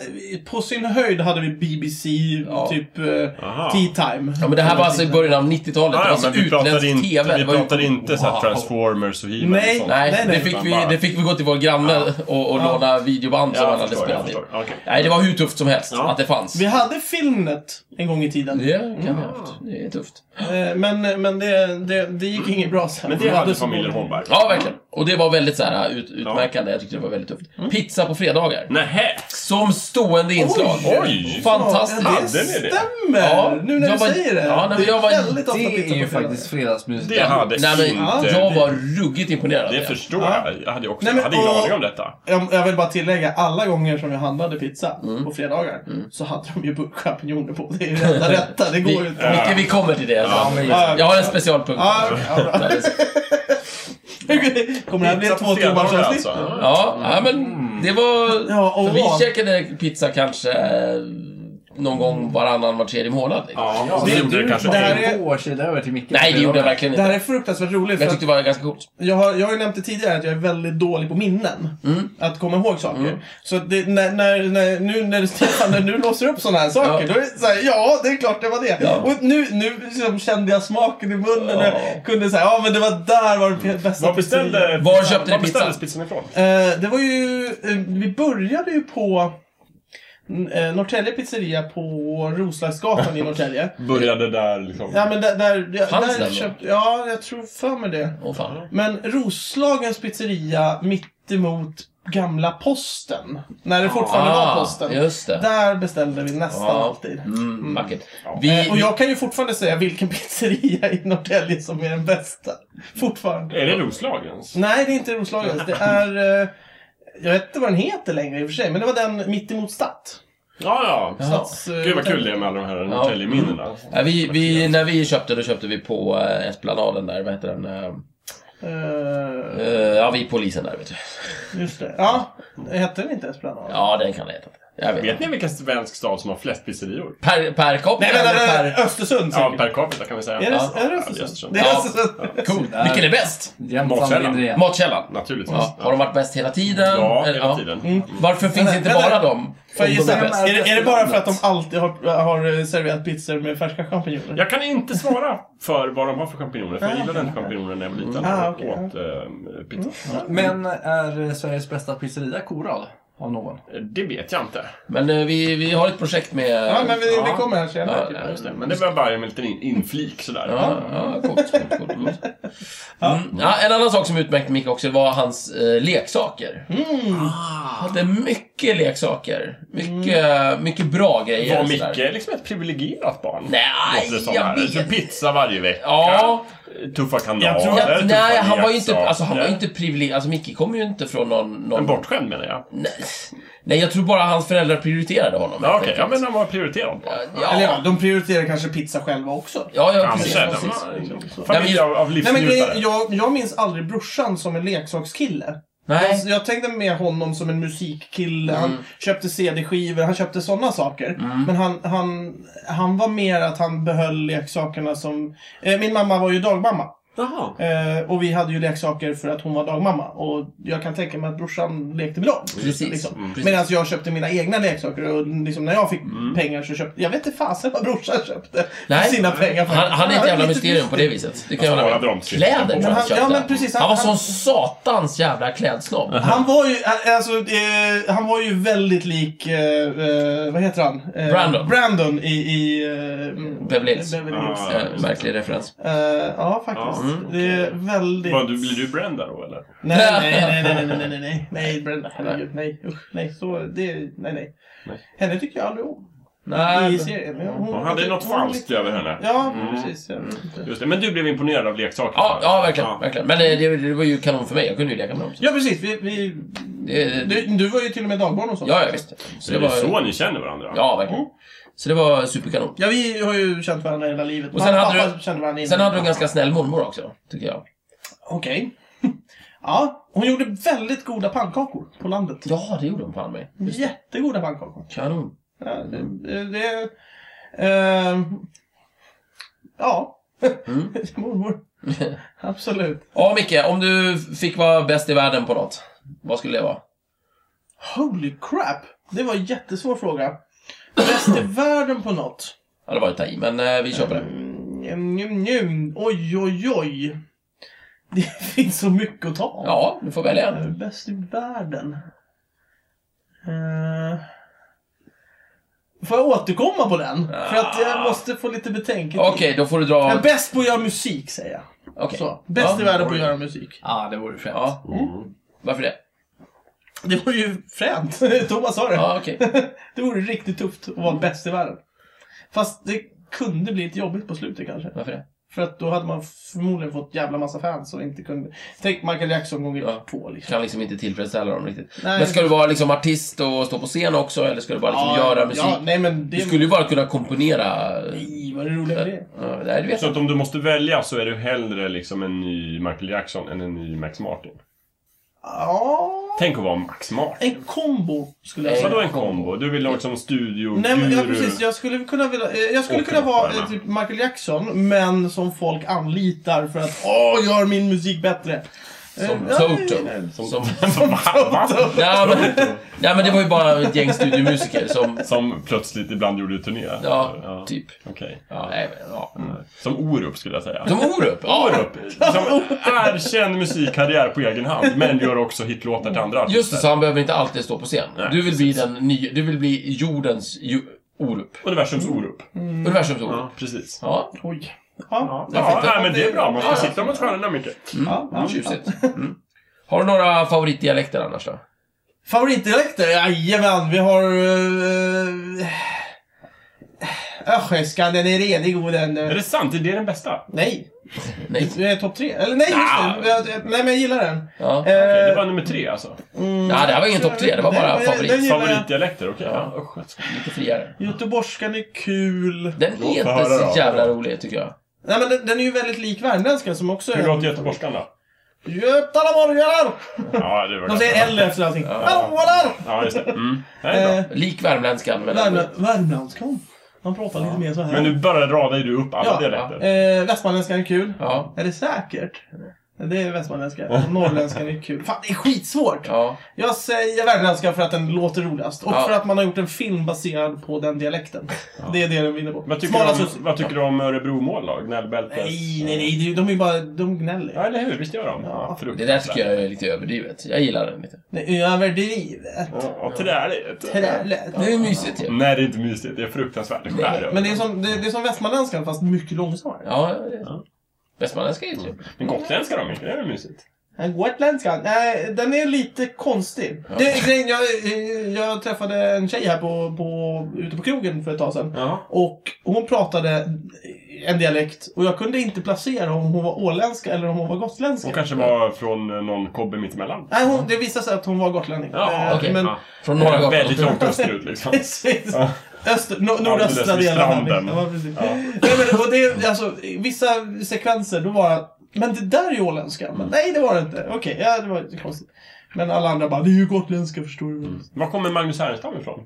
på sin höjd hade vi BBC,
Ja.
typ eh,
Aha.
Tea Time.
Ja, men det här var alltså i början av 90-talet.
Ah,
det
ja,
var så
men vi
utländsk
pratade inte,
TV.
vi
det var ju-
pratade inte så här
Wow.
Transformers och He-Man
Nej.
och sånt.
Nej,
Nej, nej,
det, fick
utan
vi,
bara-
det fick vi gå till vår granne och, och låna videoband som
Ja,
han
jag
hade
förstår, jag
spelat in.
förstår. Okej.
Nej, det var hur tufft som helst
Ja.
att det fanns.
Vi Mm. hade Filmnet en gång i tiden.
Det kan vi ha haft. Det är tufft.
Eh, Men, men det, det, det gick inget bra sen.
Men
Vi
det hade
så
familjen
många-
Holmberg.
Ja, verkligen. Och det var väldigt så här, ut, utmärkande. Jag tyckte det var väldigt tufft.
Mm.
Pizza på fredagar.
Nähä!
Som stående inslag.
Oj!
Fantastiskt.
Ja, det
Hade ni det?
stämmer!
Ja,
Nu när
jag
du
var-
säger det.
ja, nej, men jag var-
väldigt ofta
Det
pizza
är ju
på fredag.
faktiskt fredagsmys.
Det hade
Nej, men,
inte
jag
vi.
var ruggigt imponerad. av
Det
det.
förstår
Ja.
jag. Jag hade, ju också,
Nej, men-
jag hade ingen
och-
aning om detta.
jag, jag vill bara tillägga, alla gånger som jag handlade pizza
Mm.
på fredagar så hade de ju burkchampinjoner på. Det är ju det enda rätta, det går
Vi,
ju inte.
Micke, vi kommer till det.
Ja,
men-
Jag har en specialpunkt.
Ja, okej, ja, bra. Kommer det här bli ett
Pizza på fredagar
tvåtimmarsavsnitt?
alltså. Ja.
Ja, ja, men det var...
Ja, och
för vi
vad?
käkade pizza kanske eh, någon gång varannan, var tredje månad. Liksom.
Ja, och så
Det-
gjorde det
du-
kanske
det här
till.
är-
På år sedan över till Micke.
Nej, det gjorde jag verkligen
Det
inte.
här
Men
är fruktansvärt roligt. För
jag
att
tyckte det var ganska coolt.
jag, har, jag har ju nämnt det tidigare att jag är väldigt dålig på minnen.
Mm.
Att komma ihåg saker. Så att det, när, när, när, nu när Stefan när du låser upp sådana här saker,
Ja.
då är det så här, ja det är klart det var det.
Ja.
Och nu, nu liksom kände jag smaken i munnen och
Ja.
jag kunde säga, ja men det var där var det bästa
Vad
pizzerian."
beställde
Var köpte ni
var
pizza?
beställdes pizzan ifrån?
Eh, det var ju, eh, vi började ju på eh, Norrtälje pizzeria på Roslagsgatan i Norrtälje.
Började där liksom.
Ja men där, där,
Fanns
där
den då?
köpte, ja jag tror för mig det.
Åh fan.
Men Roslagens pizzeria mittemot gamla posten. När det fortfarande var posten.
Ah, just det.
Där beställde vi nästan
Ja.
alltid.
Mm, vackert.
Ja.
Vi,
Eh, och jag kan ju fortfarande säga vilken pizzeria i Norrtälje som är den bästa. Fortfarande.
Är det Roslagens?
Nej, det är inte Roslagens. Det är... Eh, jag vet inte vad den heter längre i och för sig, men det var den mittemot Statt.
Ja, ja.
Stads, eh,
Gud vad kul
hotell.
det är med alla de här Norrtäljeminnena.
Ja, vi, vi, när vi köpte, då köpte vi på eh, Esplanaden där, vad heter den? Eh,
Eh,
eh, ja, vi polisen där vet du.
just det. Ja, hette den inte Esplanad?
Ja, den kan det heta. Jag vet.
Vet
inte.
ni vilken svensk stad som har flest pizzerior?
Per, per kopp
Nej,
eller
vänta, vänta,
per...
Östersund
Ja,
säkert.
per capita kan vi säga.
Är det,
Ja.
är det
Ja, det är
Östersund?
Östersund.
Det är
Ja.
Östersund.
Cool. Vilken är bäst?
Matsällan.
Jämtland vinner igen.
Matkällan.
Naturligtvis.
Ja. Mm. Har de varit bäst hela tiden?
Ja,
Eller,
hela tiden.
Varför finns
Men-
inte
men-
bara de?
Får jag
om de
gissa?
är bäst?
Är det, är det bara för att de alltid har, har serverat pizzor med färska champinjoner?
Jag kan inte svara för vad de har för champinjoner, för jag gillade inte champinjoner när jag var
Mm.
liten.
Ah,
och
okej.
åt eh, pizza.
Men är Sveriges bästa pizzeria Koral? Av någon?
Det vet jag inte.
Men eh, vi, vi har ett projekt med...
Ja, men vi, vi
Ja.
kommer här senare.
Ja,
typ.
Ja, just det. Men det var bara en liten in- inflik sådär.
Ja, ja, coolt, coolt, coolt. Mm. Ja, en annan sak som utmärkte Micke också var hans eh, leksaker.
Mm.
Han hade mycket leksaker. Mycket,
Mm.
mycket bra grejer.
Var
och sådär.
Micke liksom ett privilegierat barn?
Nej,
Låter det som
jag
här.
vet.
Så Pizza varje vecka.
Ja.
Tuffa kanaler.
Jag tror-
Ja,
tuffa
nej, han var ju inte,
leksaker.
alltså, han var ju inte privilegierad. Alltså Micke kom ju inte från någon... någon
Men bortskämd menar jag.
nej. nej, jag tror bara hans föräldrar prioriterade honom.
Ja,
helt
okej. Ja,
enkelt.
men han var prioriterad barn.
ja,
Eller ja,
ja,
de prioriterar kanske pizza själva också.
ja, ja, precis.
Kanske. liksom.
precis. Nej, men
Familj
ju-
av, av
Nej, men
livsnjutare.
grejen, jag, jag minns aldrig brorsan som en leksakskille. Alltså,
Nej. Mm.
Jag, jag tänkte med honom som en musikkille. Han köpte CD-skivor, han köpte sådana saker. Men han, han, han var mer att han behöll leksakerna som... Eh, min mamma var ju dagmamma.
Jaha.
Eh, och vi hade ju leksaker för att hon var dagmamma. Och jag kan tänka mig att brorsan lekte med dem.
Precis.
Liksom.
Mm. Precis. Mm.
Medan jag köpte mina egna leksaker. Och liksom när jag fick pengar så köpte... Jag vet inte fasen vad brorsan köpte
Nej.
sina pengar för.
Han, han är ett
var
jävla
lite
mysterium på det
mystisk.
viset. Det kan jag
Han
hålla med
sparade
om.
om sitt-
Kläder tror jag
Men han-
köpte.
ja, men precis,
han,
han-
var sån
han-
satans jävla klädsnobb.
Han var ju, alltså, eh, han var ju väldigt lik, eh, eh, vad heter han? Eh,
Brandon.
Brandon i, i eh,
Beverly Hills.
Beverly Hills.
Ah.
Eh, Märklig referens.
Eh, ja, faktiskt.
Ja, mm,
Det är
okej.
väldigt...
Vad, du, blir du bränd där då eller?
Nej, nej, nej, nej, nej, nej, nej, nej, nej, Brenda, herregud, nej, usch, nej, så, det, nej, nej.
Nej.
Henne tycker jag aldrig om. i
Nej,
serien. Men
Hon hade ju något
hon var
falskt
lite-
över henne.
Ja,
Mm.
precis. Jag vet inte.
Just det, men du blev imponerad av leksaker.
ja, ja verkligen,
Ja.
verkligen. Men eh, det, det var ju kanon för mig. Jag kunde ju leka med dem. Så.
Ja, precis. Vi, vi,
Det-
du, du var ju till och med dagbarn och sånt.
Ja, ja, visst. Så
Så det är
det var,
så ni känner varandra?
ja, verkligen. Så det var superkanon.
Ja, vi har ju känt varandra hela livet.
Och sen
Mamma
hade
pappa kände varandra innan.
Sen hade du en ganska snäll mormor också, tycker jag.
Okej. ja, hon gjorde väldigt goda pannkakor på landet.
Ja, det gjorde hon fan mig.
Jättegoda pannkakor.
Kanon.
Ja, det... det eh, ja.
Mm.
Mormor. Absolut.
Ja, Micke, om du fick vara bäst i världen på något, vad skulle det vara?
Holy crap! Det var en jättesvår fråga. Bäst i världen på något?
Ja, det var ju att ta i, men eh, vi kör på det.
Mm, njum, njum. Oj, oj, oj. Det finns så mycket att ta av.
Ja, du får välja en.
Bäst i världen? Eh, får jag återkomma på den? För att jag måste få lite betänketid.
Ah. Okej, då får du
Jag är
dra...
bäst på att göra musik, säger jag.
Okej.
Så, bäst
ja.
i världen på att göra musik.
Ja, det vore fränt.
Ja.
Mm.
Varför det?
Det var ju fränt. Thomas sa det.
Ja, okej.
Det vore riktigt tufft att vara bäst i världen. Fast det kunde bli lite jobbigt på slutet kanske.
Varför det?
För att då hade man förmodligen fått jävla massa fans och inte kunde... Tänk Michael Jackson gånger
Ja.
två liksom.
Kan liksom inte tillfredsställa dem riktigt.
Nej.
Men ska du vara liksom artist och stå på scen också, eller ska du bara liksom göra musik?
Ja, nej men det...
Du skulle ju bara kunna komponera...
Nej, vad är det roliga med det?
Ja, nej, det vet
Så
jag.
att om du måste välja så är du hellre liksom en ny Michael Jackson än en ny Max Martin?
Ja...
Tänk att vara Max Martin.
En kombo skulle jag
Nej.
säga.
Vadå en kombo? Du vill ha liksom studio,
Nej men ja,
guru.
precis, jag skulle kunna vilja, eh, jag skulle
Och
kunna vara eh,
rockstjärna.
typ Michael Jackson, men som folk anlitar för att åh, gör min musik bättre. Eh,
Som
ja, nej,
Toto.
nej.
Som... Som...
Va?
Nej, men... nej, men det var ju bara ett gäng studiomusiker som...
Som plötsligt ibland gjorde turné?
Ja, typ.
Okej.
Ja, nej, men, ja.
Som Orup skulle jag säga.
Som Orup? Ja,
Orup! Som erkänd musikkarriär på egen hand, men gör också hitlåtar till andra
Just det,
artister.
så han behöver inte alltid stå på scen.
Nej,
du vill bli den nya, du vill bli jordens ju, Orup.
Universums Orup.
Universums Orup.
Mm. Ja, precis.
Ja,
Mm, Oj.
Ja,
Ja.
ja,
fick det.
nej, men det är bra. Man ska
Ja, ja.
sikta mot stjärnorna mycket.
Ja, ja.
tjusigt. Mm. Har du några favoritdialekter annars då?
Favoritdialekter? Jajamän, vi har... Uh, Östgötskan, eh, den är redig och den...
Är det sant? Är det den bästa?
Nej,
Nej.
det är topp tre. Eller nej, just det. Jag- jag- Nej, men jag gillar den.
Ja.
Eh,
Okej, det var nummer tre alltså.
mm,
Ja, det här var ingen topp tre, det var bara
Nej, men jag-
favorit.
den gillar jag.
Favoritdialekter, okej.
Ja.
Ja. usch, jag ska-
Lite friare.
Göteborgskan är kul.
Den är
Låt mig
inte
höra
så
då.
jävla rolig tycker jag.
Nej, men den, den är ju väldigt lik värmländskan som också är...
Hur låter göteborgskan då?
Götala morgonar!
Ja, det var
De säger L efter allting. Hallå där!
Ja, just det. Mm. Det är bra.
Eh,
Lik värmländskan. Men ändå-
Värmland- Värmlandskan. Man pratar lite mer så här.
Men nu bara radar ju du upp alla
Ja,
dialekter.
Eh, västmanländskan är kul.
Ja.
Är det säkert? Det är västmanländska. Och Norrländskan är kul. Fan, det är skitsvårt!
Ja.
Jag säger värmländska för att den låter roligast. Och
Ja.
för att man har gjort en film baserad på den dialekten. Det är det den vinner på.
Vad tycker,
Smala
du om,
sus-
vad tycker du om Örebro mållag? Gnällbältes?
Nej, nej, nej. det är ju- De är ju bara... De gnäller.
Ja, eller hur? Visst gör de?
Ja.
Det där tycker jag är lite överdrivet. Jag gillar den lite.
Nej, Överdrivet.
Ja, träligt.
Träligt.
Det är mysigt ju.
Nej, det är inte mysigt. Det är fruktansvärt. Det skär upp.
Men det är som, det, det är som västmanländskan fast mycket långsammare.
Ja. Västmanländska är ju trevligt.
Men gotländska då, Micke? Det är väl mysigt?
Men Gotländska, nej, den är lite konstig. Det är grejen, jag, jag träffade en tjej här på, på, ute på krogen för ett tag sedan.
Ja.
Och hon pratade en dialekt och jag kunde inte placera om hon var åländska eller om hon var gotländska.
Hon kanske var från eh, någon kobbe mittemellan.
Nej, hon, det visade sig att hon var gotlänning.
Ja,
Eh,
okej.
Men
Ja.
Från norra gatan.
Väldigt långt österut liksom.
precis.
Ja.
Öster, no, nordöstra
Alldeles vid
delen. av
stranden.
landet. Ja, precis. Nej, men, och det, är, alltså, vissa sekvenser, då var det men det där är ju åländska. Men, nej, det var det inte. Okej, ja, det var lite konstigt. Men alla andra bara, det är ju gotländska förstår du.
Var kommer Magnus Härenstam ifrån?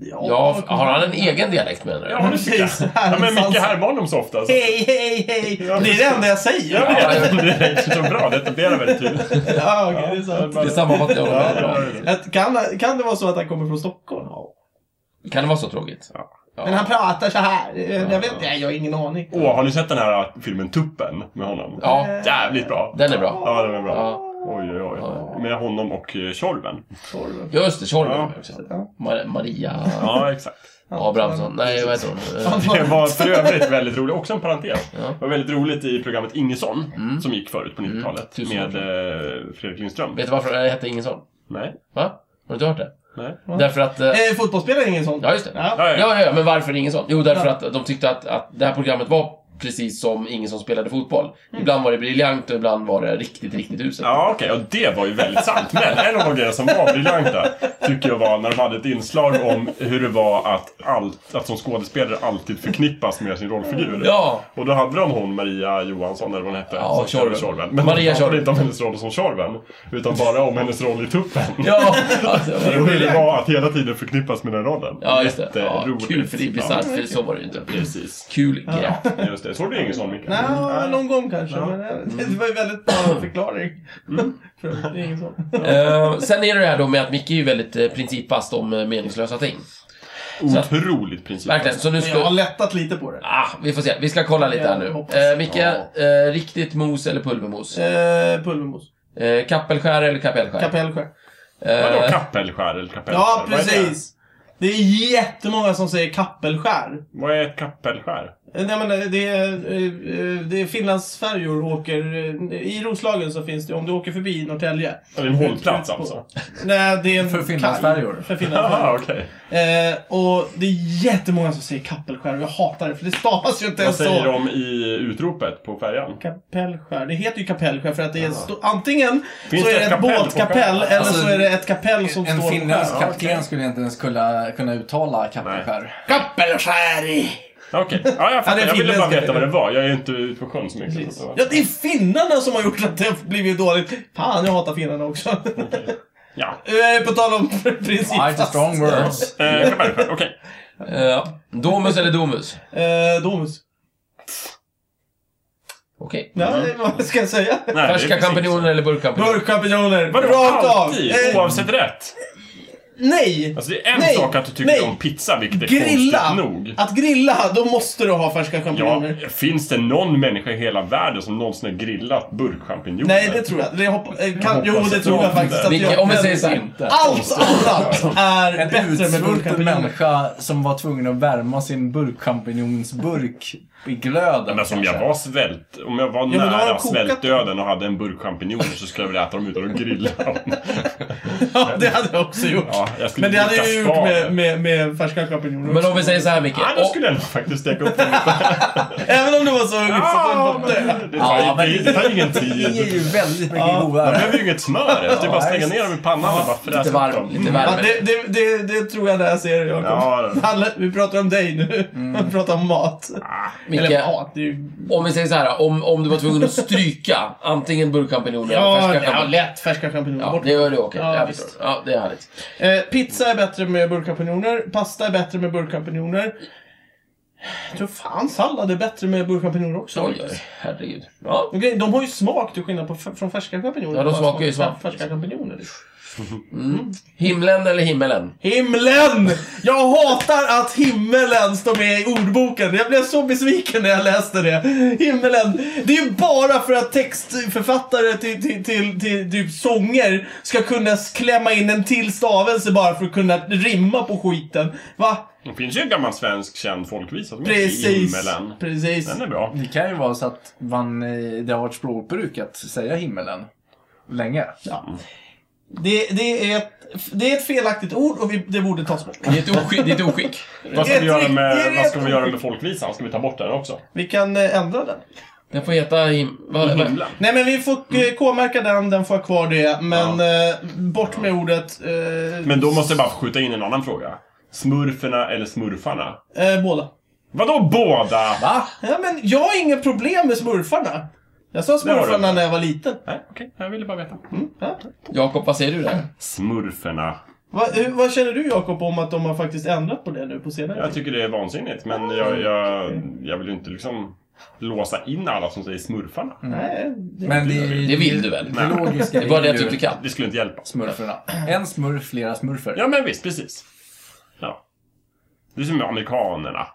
Ja, har han en egen dialekt menar du?
Ja, det tycker jag.
Precis.
Ja, men Micke
Härenstam.
Hermansson så ofta. Alltså.
Hej, hej, hej! Det är det enda jag säger.
Jag
Ja,
vet, det räcker så bra. Det etablerar väldigt tydligt.
okej, det är sant.
Det sammanfattar jag honom väldigt bra.
Att, kan, kan det vara så att han kommer från Stockholm? Ja.
Kan det vara så tråkigt? Ja.
Men han pratar så här. Jag vet inte, jag har ingen aning. Eh,
Åh, har ni sett den här filmen Tuppen med honom?
Ja,
Jävligt bra.
den är bra.
Ja, den är bra.
Ja.
Oj, oj,
Ja.
oj. Med honom och eh, Tjorven.
Torven.
Just det, Tjorven.
Ja.
Ja.
Ma- Maria
Ja, exakt.
Abrahamsson. Nej, vad heter hon? Eh,
Det var för övrigt väldigt roligt, också en parentes.
Ja. Mm.
Det var väldigt roligt i programmet Ingesson, som gick förut på 90-talet,
Tusen år
med eh, Fredrik Lindström.
Vet du varför det hette Ingesson?
Nej.
Va? Har du inte hört det?
Nej.
Därför att... eh,
Eh, fotbollsspelare är ingen sån.
Ja, just det.
Ja.
Ja, ja.
Ja, ja, ja, men varför ingen sån? Jo, därför
Ja.
att de tyckte att, att det här programmet var precis som ingen som spelade fotboll. Ibland var det briljant och ibland var det riktigt, riktigt uselt.
Ja, okej. Och det var ju väldigt sant. Men en av de grejerna som var briljanta tycker jag var när de hade ett inslag om hur det var att, allt, att som skådespelare alltid förknippas med sin rollfigur.
Ja,
Och då hade de hon Maria Johansson eller vad hon hette.
Ja,
som spelade
Tjorven.
Men
Maria
de pratade
Tjorven.
inte om hennes roll som Tjorven. Utan bara om hennes roll i Tuppen.
ja. Alltså,
Och hur det var att hela tiden förknippas med den rollen.
ja just det. Ja,
Jätteroligt.
kul, för det är bisarrt, för så var det ju inte.
Ja, precis.
Kul grej.
Just det. Såg du ingen sån, Mikael?
Nja,
Mm. Nej.
någon gång kanske.
Ja. Mm.
Men eh, det var ju väldigt bra förklaring. För det är ingen sån.
Eh, sen är det det här då med att Micke är ju väldigt eh, principfast om eh, meningslösa ting.
Otroligt princip.
Verkligen. Så nu
Men jag har
ska...
lättat lite på det.
Ah, vi får se. Vi ska kolla lite här nu.
Jag hoppas.
Eh, Micke,
Ja.
eh, riktigt mos eller pulvermos?
Eh, pulvermos.
Eh, kappelskär eller kapellskär?
Kapellskär.
Vadå
Eh,
kappelskär eller kapellskär?
Ja,
Vad är det?
precis. Det är jättemånga som säger kappelskär.
Vad är ett kappelskär?
Eh, Nej, men det- det är, eh, det är Finlands färjor åker... eh, I Roslagen så finns det, om du åker förbi Norrtälje.
Är det en hållplats alltså?
Nej, det är en
För Finlandsfärjor.
kaj För
Jaha,
Finlandsfärjor.
okej.
Eh, och det är jättemånga som säger kappelskär och jag hatar det för det stavas ju inte
Vad
ens
säger
så.
de i utropet på färjan?
Kapellskär. Det heter ju kapellskär för att det är sto- antingen
Finns
så
det
är det
ett
ett
kapell på
båtkapell
skärmen?
eller
Alltså,
så är det ett kapell som
En
står
finländsk
Ja, okej.
kapten skulle inte ens kunna, kunna uttala Kapellskär.
Kappelskär!
Okej, ja, jag
Ja, det
fattar.
är
Jag ville bara
finländska.
veta vad det var. Jag är ju inte ute på sjön så mycket.
Precis.
Så att-
Ja, det är finnarna som har gjort att det har blivit dåligt. Fan, jag hatar finnarna också.
Ja,
Eh, på tal om princip.
Mighty strong words.
eh, kappelskär. Okej.
eh, domus eller domus?
Eh, Domus.
Okej.
Ja,
Mm.
det- vad ska jag säga?
Nej, det är
Färska
precis.
champinjoner eller burkchampinjoner?
Burkchampinjoner.
Vadå,
Rakt av.
alltid?
Eh,
Oavsett rätt?
nej!
Alltså det är en
Nej,
sak att du tycker
nej.
om pizza, vilket är
Grilla!
konstigt nog.
Att grilla, då måste du ha färska
Ja,
champinjoner.
finns det någon människa i hela världen som någonsin har grillat burkchampinjoner?
Nej, det tror jag. Det hoppa, eh, kan,
Jag
jo,
hoppas
det
att
tror
det
jag
var
faktiskt
det.
att
Vilket-
jag
om vi säger
men-
så här.
Inte.
Allt annat är
En
bättre med
utsvulten
burkchampinjoner.
människa som var tvungen att värma sin burkchampinjonsburk i glöden.
Men som
kanske.
jag var svält... Om jag var
men då har de
nära
kokat
svältdöden och hade en burk champinjoner så skulle jag väl äta dem utan att grilla dem.
Ja, det hade jag också gjort.
Ja, jag skulle
Men det hade
dricka
jag ju gjort
skal.
med, med, med färska champinjoner
Men
också.
om vi säger så här Micke.
Ja, då
och-
skulle jag nog faktiskt steka upp dem.
Även om det var så
Ja,
ah,
men
det.
det tar ju-
Ja, men
det- det tar ju ingen
Det är
tid.
ju väldigt mycket
Ja.
Man
godare.
behöver ju inget smör ens. Det är bara att
Ja,
slänga
visst.
ner dem i pannan och bara
Lite
fräsa upp
varm,
dem.
lite
Mm.
Ja,
värme.
det, det, det, det tror jag när jag ser Jakob.
Ja, det-
Alla- Vi pratar om dig nu.
Mm.
Vi pratar om mat. Eller
Micke,
mat, det är ju...
om vi säger så här, om, om du var tvungen att stryka antingen burkchampinjoner eller
Ja,
färska
ja,
champinjoner.
lätt färska champinjoner.
Ja,
Bort.
det gör du okej.
Ja,
jag
visst.
förstår. Ja, det är härligt.
Eh, pizza är bättre med burkchampinjoner. Pasta är bättre med burkchampinjoner. Jag tror fan sallad är bättre med burkchampinjoner också.
Oj, oj, herregud. Ja.
Okej, de har ju smak till skillnad på f- från färska champinjoner.
Ja, de smakar ju svamp.
Färska champinjoner.
Himlen eller himmelen?
Himlen! Jag hatar att himmelen står med i ordboken. Jag blev så besviken när jag läste det. Himmelen. Det är ju bara för att textförfattare till, till, till, till typ sånger ska kunna klämma in en till stavelse bara för att kunna rimma på skiten. Va?
Det finns ju en gammal svensk känd folkvisa som heter
Precis.
Himmelen.
Precis.
Den är bra.
Det kan ju vara så att man, eh, det har varit språkbruk att säga himmelen länge.
Ja. Det, det, är ett, det är ett felaktigt ord och vi, det borde tas bort.
Det är ett oskick. Det är ett oskick.
Vad ska,
Det är
vi göra
riktigt-
med, vad ska
det är
vi göra med folkvisan? Ska vi ta bort den också?
Vi kan eh, ändra den.
Den får heta him... Vad, vad,
Himlen.
Nej men vi får
Mm.
eh, K-märka den, den får ha kvar det. Men eh, bort med ordet. Eh,
Men då måste jag bara skjuta in en annan fråga. Smurferna eller smurfarna?
eh, båda.
Vadå båda?
Va?
Ja men jag har inga problem med smurfarna. Jag sa
har du
smurfarna
inte.
när jag var liten.
Nej, okej. Jag ville bara veta. Mm.
Ja.
Jakob, vad säger du där?
Smurferna.
Va, hur, vad känner du Jakob om att de har faktiskt ändrat på det nu på senare
Jag
tid?
tycker det är vansinnigt, men jag, jag, jag vill ju inte liksom låsa in alla som säger smurfarna.
Mm. Nej, det...
Men det,
Det vill du väl?
Det logiska
Det är bara det
ju
att du inte kan.
Det skulle inte hjälpa.
Smurferna. En smurf, flera smurfer.
Ja, men visst, precis. Ja. Det är som med amerikanerna.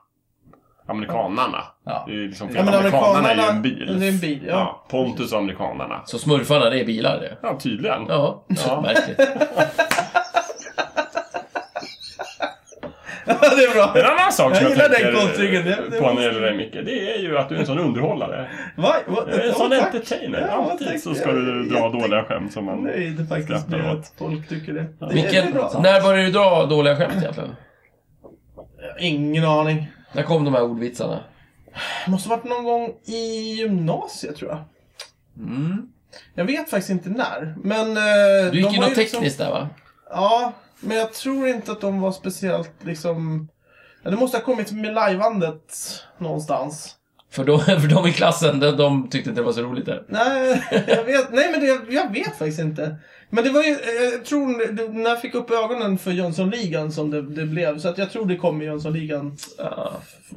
Amerikanarna.
Ja.
Det är ju liksom fel.
Ja, men
amerikanerna är ju en
amerikanerna-
bil.
det är en bil, ja.
Pontus och amerikanerna.
Så smurfarna, det är bilar det?
Ja, tydligen.
Ja,
Ja.
märkligt.
Ja, det är bra.
En annan sak
Jag
som jag,
gillar den
tänker
coachingen, det- det
på när
måste-
det gäller dig Micke, det är ju att du är en sån underhållare.
Va? Va?
Du är en sån
Åh, tack.
entertainer.
Ja,
Alltid
tack.
så ska du
Jag-
dra
jag-
dåliga skämt som
Jag är
man...
nöjd faktiskt med
Skrattar åt.
att folk tycker det. det det
Micke,
är bra.
när började du dra dåliga skämt egentligen?
Ingen aning.
När kom de här ordvitsarna?
Det måste ha varit någon gång i gymnasiet tror jag. Jag vet faktiskt inte när. Men, eh,
Du gick
Mm. de
ju
var
något
liksom-
tekniskt där va?
Ja, men jag tror inte att de var speciellt liksom... Ja, Det måste ha kommit med lajvandet någonstans.
För de, för de i klassen, de, de tyckte inte det var så roligt där.
Nej, jag vet, nej men det, jag vet faktiskt inte. Men det var ju, eh, jag tror, det- när jag fick upp ögonen för Jönssonligan som det, det blev. Så att jag tror det kom i Jönssonligan. Uh,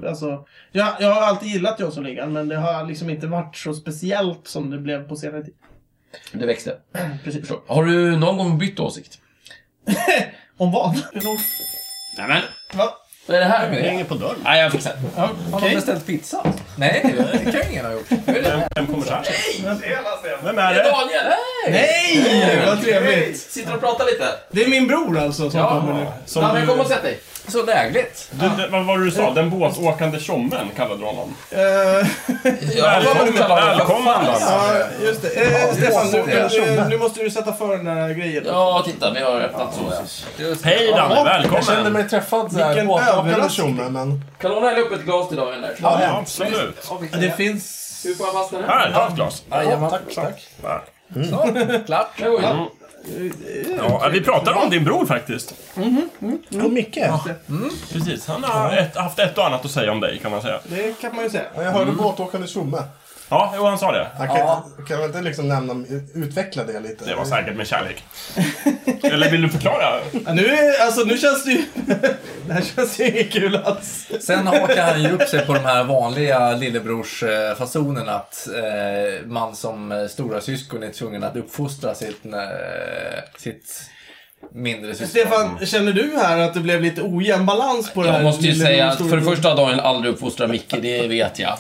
alltså, jag, jag har alltid gillat Jönssonligan men det har liksom inte varit så speciellt som det blev på senare tid.
Det växte.
Precis.
Förstår. Har du någon gång bytt åsikt?
Om vad?
Nämen!
Va?
Vad är det här?
Det hänger på dörren.
Nej, jag fixar det.
Ja,
Har
Okej.
de beställt pizza? Nej, det kan ingen ha gjort.
Vem, vem kommer så här? Vem är
Det är
det?
Daniel! äh,
Nej! Vad trevligt!
Sitter och pratar lite.
Det är min bror alltså som kommer nu.
Som
Ja, men kom
du,
och sätt dig.
Så lägligt.
du, det- vad var det du sa? Den båtåkande tjommen kallade du honom.
Eh,
Välkommen, välkommen Danne.
Ja, just det. Eh, Stefan,
det
nu,
var det jag
eh, nu måste du sätta för den här grejen.
Ja, titta, vi har öppnat sås.
Hej Danne,
Jag kände
välkommen!
mig träffad så här
Vilken
påkakande
överraskning.
tjomme, men...
Kan någon hälla upp ett glas till Daniel där?
Ja, absolut.
Det finns...
Hur får jag fast den här?
Här, ta ett glas.
Ja, tack, tack.
Ja.
Klart. Oj,
Ja, vi pratade om din bror faktiskt. Mm.
Och Micke. Ja,
Precis, han har ett, haft ett och annat att säga om dig kan man säga.
Det kan man ju säga.
Jag
Mm.
hörde båtåkande tjomme.
Ja, jo han sa det.
Han kan, kan väl inte liksom nämna, utveckla det lite?
Det var säkert med kärlek. Eller vill du förklara?
Ja, nu, är- alltså, nu känns det ju... det här känns ju inget kul alls.
Sen hakar han ju upp sig på de här vanliga lillebrorsfasonerna att eh, man som eh, stora syskon är tvungen att uppfostra sitt, eh, sitt mindre syskon.
Stefan, känner du här att det blev lite ojämn balans på det här?
Jag måste ju
lilla
säga att
stora-
för det första har Daniel aldrig uppfostrat Micke, det vet jag.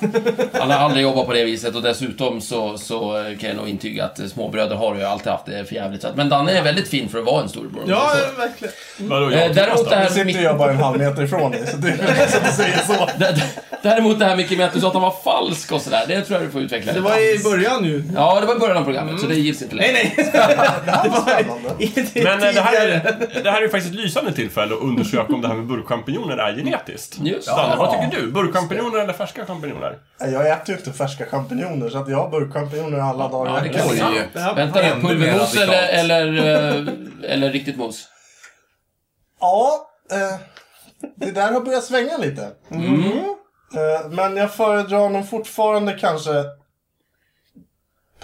Han har aldrig jobbat på det viset och dessutom så, så kan jag nog intyga att eh, småbröder har ju alltid haft det för jävligt. Så att- Men Danne är väldigt fin för att vara en storbror. om man
Ja,
säger så.
eh, verkligen.
Vadå,
Eh,
jag
Däremot det
Nu
här med
sitter
Micke-
jag bara en halv meter ifrån dig, så det är väl som du säger så.
d- d- Däremot det här Micke med att du sa att han var falsk och sådär, det tror jag du får utveckla
Det
lite.
var i början ju.
Ja, det var i början av programmet, så det gills inte
Nej,
längre.
nej. Det var i- i det
Men eh, det här,
tidigare.
är, det här är ju faktiskt ett lysande tillfälle att undersöka om det här med burkchampinjoner är genetiskt.
Just det.
Danne, vad tycker du? Burkchampinjoner eller färska champinjoner?
Nej, Jag äter ju inte färska champinjoner, så att jag har burkchampinjoner alla dagar.
Ja, det kan
Oj.
jag
Det här-
Vänta nu,
Ännu mer
pulvermos
radikalt.
eller, eller, eh, eller riktigt mos?
Ja, eh, det där har börjat svänga lite.
Mm.
Eh, men jag föredrar nog fortfarande kanske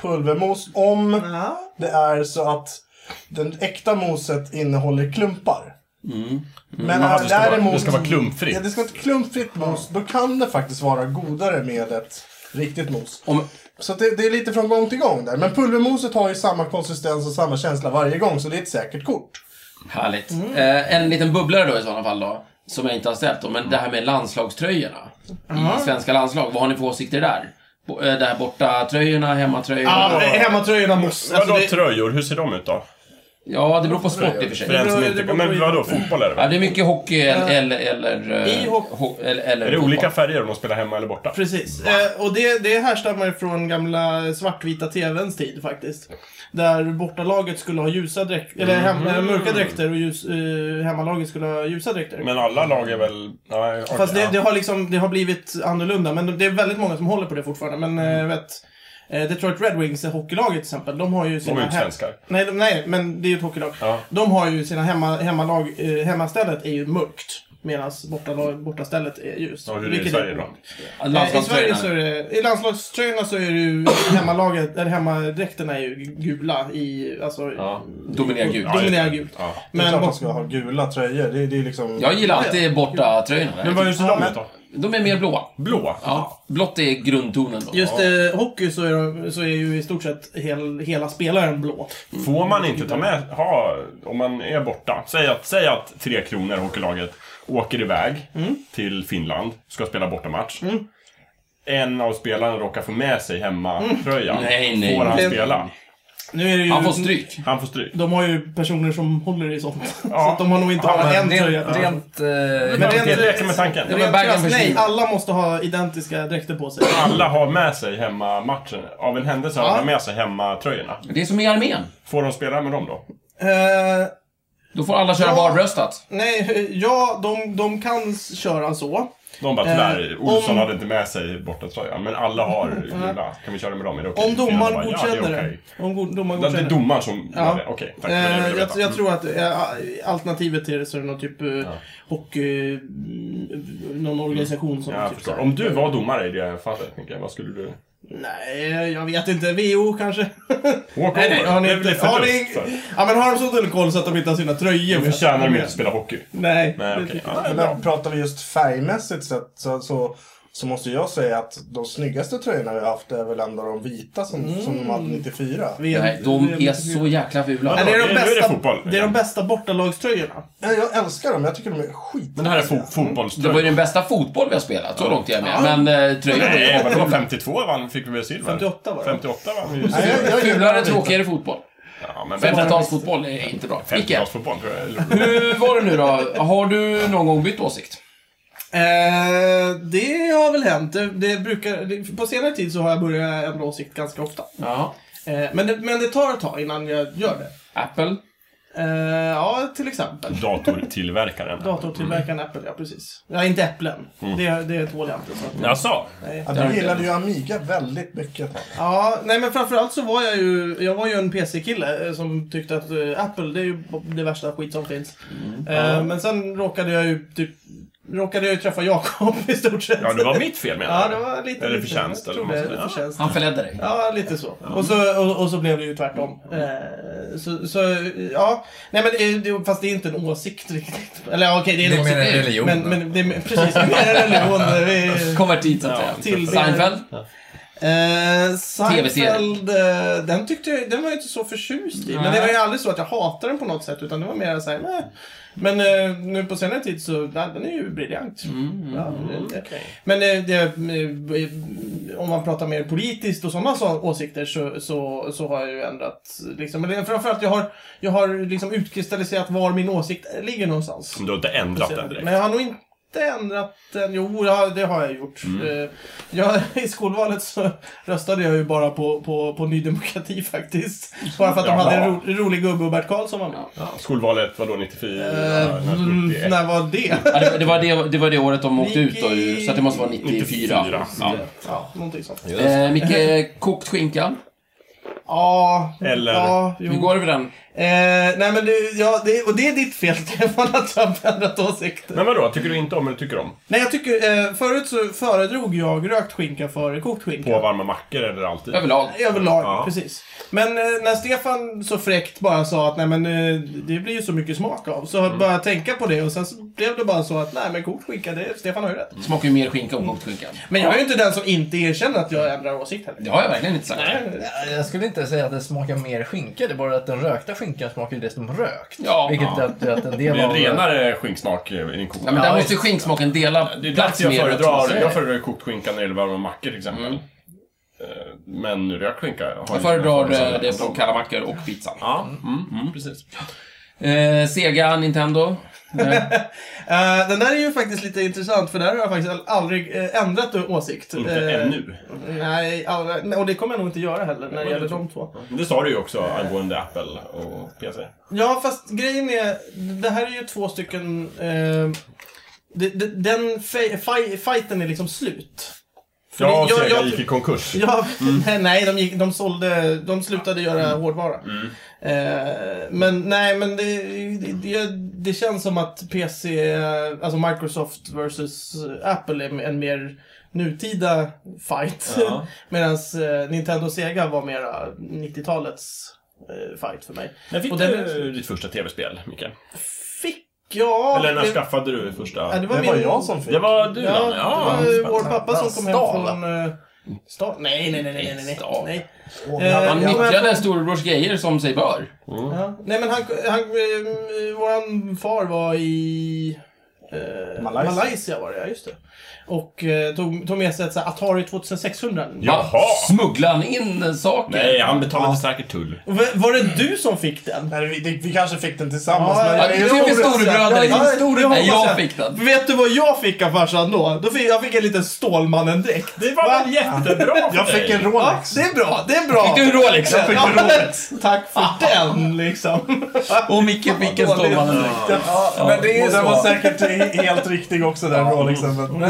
pulvermos om
Ja.
det är så att den äkta moset innehåller klumpar. Men
Jaha,
är
Mm. det, ska vara,
däremot...
det ska vara
Ja,
klumpfritt.
det ska vara ett klumpfritt mos. Då kan det faktiskt vara godare med ett riktigt mos.
Om,
Så att det, det är lite från gång till gång där. Men pulvermoset har ju samma konsistens och samma känsla varje gång, så det är ett säkert kort.
Härligt.
Mm.
Eh, en liten bubblare då i sådana fall då, som jag inte har ställt då, men det här med landslagströjorna. I svenska landslag, vad har ni för åsikter där? Bo- eh, Det här borta tröjorna, hemmatröjorna?
Ja, eh, hemmatröjorna måste...
Vadå
Alltså, det,
tröjor? Hur ser de ut då?
Ja, det beror på sport i och för
För
sig.
en som
beror-
inte...
det beror på-
Men vadå, fotboll är det
Ja,
väl?
det är mycket hockey eller... eller, eller eh,
I hockey-
ho- eller, eller
Är det olika
fotboll.
färger om de spelar hemma eller borta?
Mm. Precis. Eh, och det, det härstammar från gamla svartvita TVns tid faktiskt. Där bortalaget skulle ha ljusa dräkter,
Mm.
eller hem, eh, mörka dräkter och ljus, eh, hemmalaget skulle ha ljusa dräkter.
Men alla lag är väl... Nej, okej,
Fast det,
ja.
det har liksom, det har blivit annorlunda. Men det är väldigt många som håller på det fortfarande. Men
Mm.
eh, jag vet, eh, Detroit Red Wings, eh, hockeylaget till exempel, de har ju
De är
sina...
ju inte
hem-
svenskar.
Nej, de, nej, men det är ju ett hockeylag.
Ja.
De har ju sina hemma, hemmalag, eh, hemmastället är ju mörkt. Medan bortalag, bortastället är ljust.
Ja, hur är det i
Vilket
Sverige då?
Eh, I Sverige
Landslagströjorna.
så är det, i landslagströjorna så är det ju hemmalaget, eller hemmadräkterna är ju gula i, alltså...
Ja, dominerar gult.
Dominerar gult.
Ja.
Men det
Men
är klart man
bort,
ska ha gula tröjor. Det, det är liksom...
Jag gillar alltid borta
Men
tröjorna.
vad hur ser de ut då?
De är mer blåa.
Blå?
Ja, blått är grundtonen då.
just eh, hockey så är, de, så är ju i stort sett hel, hela spelaren blå.
Får man inte ta med, ha, om man är borta. Säg att, säg att Tre Kronor, hockeylaget, åker iväg
Mm.
till Finland, ska spela bortamatch. En av spelarna råkar få med sig hemmatröjan.
Mm. Nej, nej,
Får han
nej.
spela?
Nu är det ju...
Han får stryk.
Han får stryk.
De har ju personer som håller i sånt. Så
Ja.
att de har nog inte
Ja,
alla en
men
tröja.
rent... rent eh,
Men
det-
det leker med tanken.
men
Rent
baggen
krasst, nej,
försvinner.
alla måste ha identiska dräkter på sig.
Alla har med sig hemma matchen. Av en händelse har alla med sig hemma tröjorna.
Det är som i armén.
Får de spela med dem då?
Eh,
Då får alla köra
Ja.
barbröstat.
nej, ja, de, de kan s- köra så.
De bara tyvärr,
Eh,
Olsson
om- Mm.
hade inte med sig bortatröjan. Men alla har gula. Kan vi köra med dem? Är det okej?
Om domaren
Finland bara,
godkänner
ja, det. Är
det.
okej.
Om go- domaren
Det- Det
godkänner
är
det.
domaren som
Ja.
gör det. Okej, tack. det var det
Eh,
ville
jag,
veta.
jag tror att eh, alternativet till det så är det någon typ eh, hockey... eh, Någon organisation som...
Mm. Ja, jag
typ
förstår.
så här-
Om du var domare i det fallet, Micke, vad skulle du...
Nej, jag vet inte. VO kanske?
Walk
Nej, nej,
over?
har ni
det är väl
inte...
lite
Har
förlust?
ni,
för-
ja, men har de så dålig koll så att de inte har sina tröjor
Då förtjänar de inte att spela hockey.
Nej.
Nej,
det
okej.
tycker jag.
Ja, det är
Men
bra.
när pratar vi just färgmässigt sett så, så, så måste jag säga att de snyggaste tröjorna vi har haft är väl ändå de vita som, som de hade 94.
Vi
Nej, de
vi
är så jävla fula.
Nej, det, är
Nu
de
är det
bästa,
fotboll.
det är de bästa bortalagströjorna.
Nej, Jag älskar dem, jag tycker de är skit.
Men det här är
Mm.
fo
Det var ju
fotbollströja.
den bästa fotboll vi har spelat, så långt är jag med. Men eh, tröjan var
Nej, men det var
ju
52 vann, fick vi väl silver?
58 var det.
58 vann vi ju
Nej,
silver.
jag, jag gillar
Fulare,
dem lite.
tråkigare fotboll.
Ja, men
50-talsfotboll är inte bra. Micke,
50-talsfotboll tror jag. är-
hur var det nu då? Har du någon gång bytt åsikt?
Eh, det har väl hänt. Det, det brukar, det, på senare tid så har jag börjat ändra åsikt ganska ofta.
Ja.
Eh, men, det, men det tar ett tag innan jag gör det.
Apple?
Eh, ja, till exempel.
Datortillverkaren.
Datortillverkaren Apple, ja precis. Ja, inte äpplen.
Mm.
Det, det tål jag inte. Så. att-
Jaså?
Nej.
Ja, du gillade ju Amiga väldigt mycket.
Ja, nej men framförallt så var jag ju, jag var ju en PC-kille eh, som tyckte att eh, Apple, det är ju det värsta skit som finns.
Mm.
Eh, Men sen råkade jag ju typ, råkade jag ju träffa Jakob i stort sett.
Ja, det var mitt fel menar
Ja,
du?
det var lite...
Eller
lite-
förtjänst,
jag
eller
tror
vad man
det,
säger.
förtjänst.
Han förledde dig.
Ja, lite så. Och så, och, och så blev det ju tvärtom. Eh, så, så, ja. Nej, men det, det, fast det är inte en åsikt riktigt. Eller ja, okej, det är en
Det är
åsikt.
mer en religion,
Men,
då.
men det är mer- precis, det är mer en religion. Vi-
Konvertit, så att säga.
till-
Seinfeld?
Eh,
TV-serien.
Seinfeld, eh, den tyckte jag, den var jag inte så förtjust i. Men det var ju aldrig så att jag hatade den på något sätt, utan det var mer såhär, nej. Men eh, nu på senare tid så, nej, den är ju
Mm.
briljant.
Mm.
ja, det- Men eh, det, eh, om man pratar mer politiskt och sådana så, åsikter så, så, så har jag ju ändrat, liksom. Men det är framförallt, jag har, jag har liksom utkristalliserat var min åsikt ligger någonstans.
Du har inte ändrat den direkt?
Men jag har nog inte ändrat den. Jo, ja, det har jag gjort. Eh, Jag, I skolvalet så röstade jag ju bara på, på, på Ny Demokrati faktiskt. Bara för att de
Jaha.
hade en ro, rolig gubbe och Bert Karlsson var med.
Ja, Skolvalet, vadå, 94?
Eh, mm,
91?
när var det?
Ja, det, det, var det, det var det året de åkte ut då, ju, så att det måste vara 94.
94.
Ja.
Ja, någonting sånt.
Eh, Micke, kokt skinka.
Ja,
Eller-
ja, jo.
Hur går det med den?
Eh, nej men du, ja, det, och det är ditt fel Stefan att jag har ändrat åsikter.
Men vadå, tycker du inte om eller tycker om?
Nej jag tycker, eh, förut så föredrog jag rökt skinka före kokt skinka.
På varma mackor eller alltid?
Överlag.
Överlag,
Ja.
precis. Men eh, när Stefan så fräckt bara sa att nej men eh, det blir ju så mycket smak av. Så
Mm.
bara tänka på det och sen så blev det bara så att nej men kokt skinka, det, Stefan har ju rätt.
Mm.
Smakar ju mer skinka om kokt skinka.
Men jag är ju inte den som inte erkänner att jag ändrar åsikt heller.
Det har jag verkligen inte sagt.
Ja, Jag skulle inte säga att det smakar mer skinka, det är bara att den rökta skinkan smakar ju dessutom rökt.
Ja.
Vilket är att, att en
Det
del
är en
av...
renare skinksmak i en kokt.
Ja, men där
Ja,
måste ju skinksmaken dela
Det är
plats
därför jag
med
föredrar,
rötmasen.
jag föredrar kokt skinka när det gäller varma mackor till exempel. Eh, Men rökt skinka har
Jag
inte den
föredrar eh,
fördelen.
det från kalla mackor och pizzan.
Ja, mm, mm, precis.
Eh, Sega, Nintendo.
Eh, den där är ju faktiskt lite intressant för där har jag faktiskt all- aldrig eh, ändrat åsikt.
Inte
Eh,
ännu.
Nej, aldrig, och det kommer jag nog inte göra heller när det gäller de två.
Det sa du ju också angående Apple och PC.
Ja, fast grejen är, det här är ju två stycken... Eh, det- det- den fe- fi- fighten är liksom slut. För
Jag och
det- jag-
Sega
jag-
gick i konkurs.
Ja,
Mm.
nej, de, gick, de sålde, de slutade göra hårdvara.
Mm.
Eh, men nej, men det, det, det, det känns som att PC, eh, alltså Microsoft versus Apple är en mer nutida fight.
Ja.
Medan eh, Nintendo och Sega var mera 90-talets eh, fight för mig.
När fick
Och den-
du ditt första tv-spel, Micke?
Fick jag...
Eller när
det-
skaffade du första?
ja, det var,
Det var
min,
jag som fick.
Det var du,
Ja,
Danne. Ja,
det var
spännande.
vår pappa som kom hem
Stal.
från... Eh, stad? Nej, nej, nej, nej, nej, nej.
Stal.
nej.
Och
Eh,
jag-
Han
Ja, men-
nyttjade storebrors grejer som sig bör.
Ja. Nej men han, han, eh, våran far var i eh,
Malaysia.
Malaysia. var det, ja just det. Och eh, tog, tog med sig ett så här Atari 2600.
Jaha!
Smugglade han in eh, saker?
Nej, han betalade säkert tull.
V- Var det du som fick den?
Nej, vi, det, vi kanske fick den tillsammans.
Ja,
men
Ja,
jag
det
är
är min
orolig.
storebröder.
Ja,
liksom.
det hoppas
Nej, jag fick den.
Vet du vad jag fick av farsan då? då fick, jag fick en liten Stålmannen-dräkt.
Det var väl jättebra för
Jag fick en
dig?
Ja,
Rolex.
det är bra, det är bra.
Fick du liksom? Rolex?
Ja, Tack för den liksom.
Och Micke fick en stålmannen.
Men det är
Och den var
så.
säkert i- helt riktig också den Rolexen.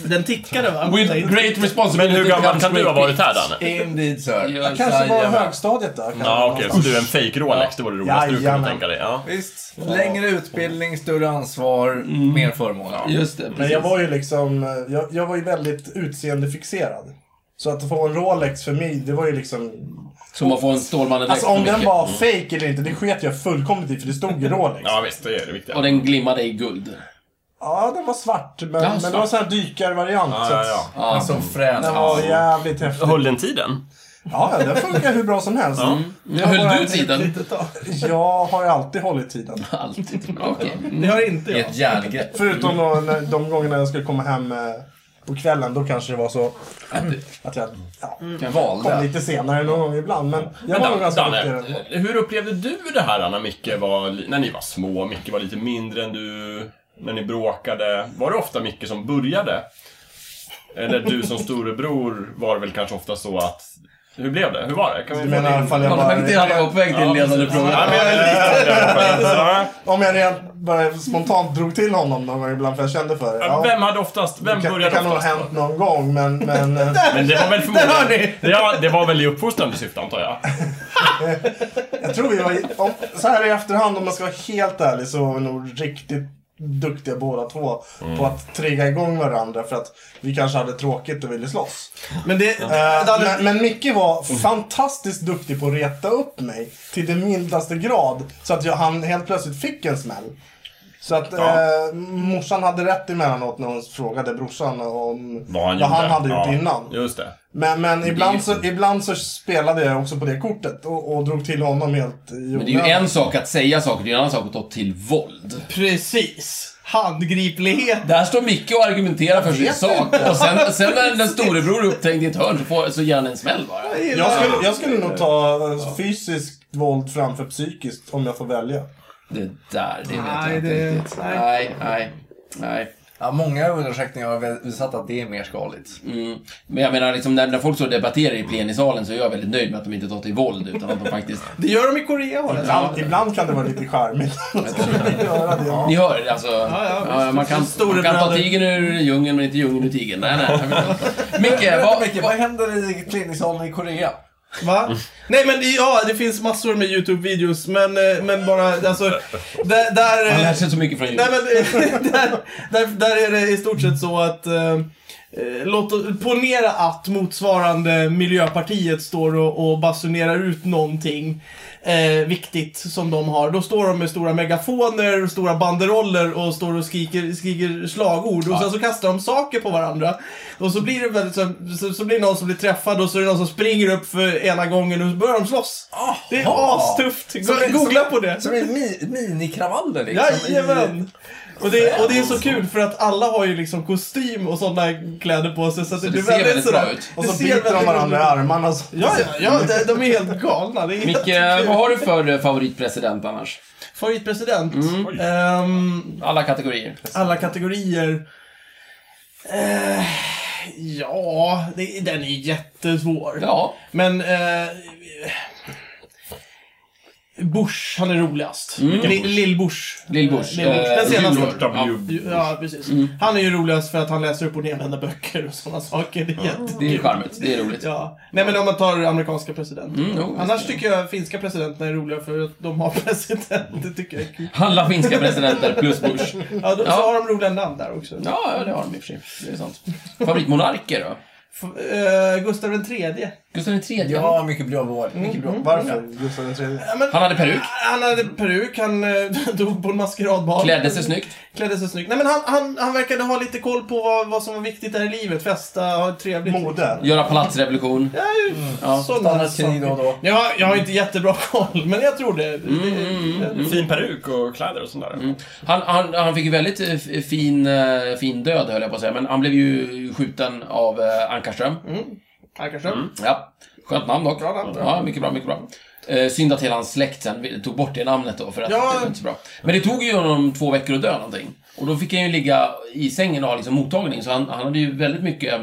Men,
Den tickade va?
With great responsibility
Men hur gammal
comes
kan du ha
great
varit här,
pictures.
Danne?
Indeed sir.
Ja,
jag kanske var i
Jajamän.
högstadiet då. kan
Ja,
jag-
okej. Så du är en fake Rolex, det var det roligaste du kunde
Jajamän.
tänka dig. Ja.
Visst. Längre utbildning, större ansvar,
Mm.
mer förmåner.
Just det,
Men
precis.
jag var ju liksom, eh, jag, jag var ju väldigt utseendefixerad. Så att få en Rolex för mig, det var ju liksom...
Som att få en stålmannen
Alltså om den
Micke.
var fake eller inte, det sket jag fullkomligt i för det stod ju Rolex.
Mm. ja, visst. Det är det viktiga.
Och den glimmade i guld.
Ja, den var svart. Men,
Ja,
men det
svart.
var sån här dykarvariant.
Ja,
så
ja,
att
ja.
Han
Alltså,
såg frän
Den var
ut.
jävligt häftig.
Höll den tiden?
Ja, ja, den funkar hur bra som helst.
Nu höll du tiden.
Jag har ju alltid hållit tiden.
Alltid. Okej.
Det har inte
I
jag.
ett järngrepp.
Förutom då, när, de gångerna jag skulle komma hem eh, på kvällen, då kanske det var så
Äh,
att jag ja,
Mm.
kom
Valde.
lite senare någon gång ibland. Men jag
Men
var nog
Dan-
ganska
Danne,
duktig.
hur upplevde du det här när Micke var, li- när ni var små, Micke var lite mindre än du, när ni bråkade? Var det ofta Micke som började? Eller du som storebror var det väl kanske ofta så att... Hur blev det? Hur var det? Kan vi
Du menar i alla fall jag
Kolla, men det
bara...
hade jag på väg till
Ja,
en ledande
precis.
fråga.
Ja, men jag är lite där i alla fall. Ja.
Om jag rent bara spontant drog till honom någon gång ibland för jag kände för det. Ja,
Vem hade oftast... Vem
det kan, det
började
kan nog ha
oftast?
hänt någon gång, men... men eh,
Men det var väl förmodligen... Ja, det var väl i uppfostrande syfte antar jag.
jag tror vi var... Om, så här i efterhand, om man ska vara helt ärlig, så var vi nog riktigt duktiga båda två på att trigga igång varandra för att vi kanske hade tråkigt och ville slåss.
Men det...
Eh,
det hade-
men, men Micke var fantastiskt duktig på att reta upp mig till den mildaste grad. Så att jag, han helt plötsligt fick en smäll. Så att eh, morsan hade rätt emellanåt när hon frågade brorsan om
Vad han, gjorde.
han hade gjort
Ja,
innan.
Just det.
Men, men ibland, så, ibland så spelade jag också på det kortet och, och drog till honom helt i
Men det är ju
onödan.
en sak att säga saker, det är en annan sak att ta till våld.
Precis. Handgriplighet.
Där står Micke och argumenterar för sin sak. Och sen, sen när den storebror är uppträngd i ett hörn så, får, så ger han en smäll bara.
jag skulle, jag skulle nog ta eh, fysiskt våld framför psykiskt om jag får välja.
Det där, det vet
Nej,
jag inte
det-
riktigt.
nej.
Nej, nej, nej.
Ja, många undersökningar har visat att det är mer skadligt.
Mm. Men jag menar, liksom, när, när folk står och debatterar i plenisalen så är jag väldigt nöjd med att de inte tar till våld, utan att de faktiskt...
Det gör de i Korea har det.
Ibland, ibland kan det vara lite charmigt. Göra det.
Ni hör, alltså... Ja,
ja, visst.
man, kan, man kan ta
Storebröder.
tigern ur djungen, men inte djungeln ur tigern. Nej, nej. jag förstår. Micke, vad...
Micke, vad händer i klinisalen i Korea?
Va? Nej men det- ja, det finns massor med YouTube-videos. Men, eh, men bara alltså... Där... där
Man lär
eh,
sig så mycket från
nej
djungeln.
men eh, där, där, där är det i stort sett så att... Eh, eh, Låt oss- ponera att motsvarande Miljöpartiet står och, och basunerar ut någonting eh, viktigt som de har. Då står de med stora megafoner, stora banderoller och står och skriker, skriker slagord. Och sen så kastar de saker på varandra. Och så blir det väldigt, så, så, så blir det någon som blir träffad och så är det någon som springer upp för ena gången och så börjar de slåss. Det är astufft. Go-
Så-
Googla på det.
Som en mi- minikravaller liksom. i-
Jajamän! Och det, och det är så kul för att alla har ju liksom kostym och sådana kläder på sig så att det,
det
blir
ser
väldigt,
väldigt
sådär.
bra ut.
Och
Det
så
ser
biter de
väldigt
varandra i
roligt ut.
armarna. Så.
Ja, ja, ja de, de är helt galna. Det är helt
Micke,
kul.
vad har du för eh, favoritpresident annars?
Favoritpresident?
Mm.
Oj.
Ehm,
Alla kategorier.
alla kategorier. Eh, ja, det, den är jättesvår.
Ja.
Men... Eh, Bush, han är roligast.
Mm.
Li- Lill Bush.
Lill Bush.
Lill Bush. Den
Eh,
senaste.
George W.
Ja, precis.
Mm.
Han är ju roligast för att han läser upp och nedvända böcker och sådana saker. Det är jättekul.
Det är charmigt, det är roligt.
Ja. Nej men om man tar amerikanska presidenter.
Mm, jo,
Annars
visst.
tycker jag finska presidenterna är roliga för att de har president. Det tycker jag är kul.
Alla finska presidenter plus Bush.
Ja, då,
Ja.
Så har de roliga namn där också.
Ja, ja, det har de i och för sig. Det är sant. Favoritmonarker då?
F- eh, Gustav den tredje.
Gustav den tredje.
Ja, mycket bra vård.
Mycket bra. Varför? Gustav den tredje?
Ja, men,
Han hade peruk.
han hade peruk, han eh, dog på en maskeradbal.
Klädde sig snyggt.
Klädde sig snyggt. Nej, men han, han, han verkade ha lite koll på vad, vad som var viktigt där i livet. Festa, ha trevligt.
Mode.
Göra palatsrevolution.
Ja,
Ja,
Mm.
sådana
Krig då och
saker.
då.
Ja, jag har inte jättebra koll, men jag tror det.
Mm,
Fin peruk och kläder och sånt där.
Mm.
Han, han, han fick ju väldigt eh, f- fin, eh, fin död, höll jag på att säga. Men han blev ju skjuten av eh, Ankarström.
Ankarström.
Ja. Skönt namn dock.
Bra namn.
Ja, mycket bra, mycket bra. Eh, synd att hela hans släkt sen vi- tog bort det namnet då, för att
Ja.
det var inte så bra. Men det tog ju honom två veckor att dö någonting. Och då fick han ju ligga i sängen och ha liksom mottagning, så han, han hade ju väldigt mycket eh,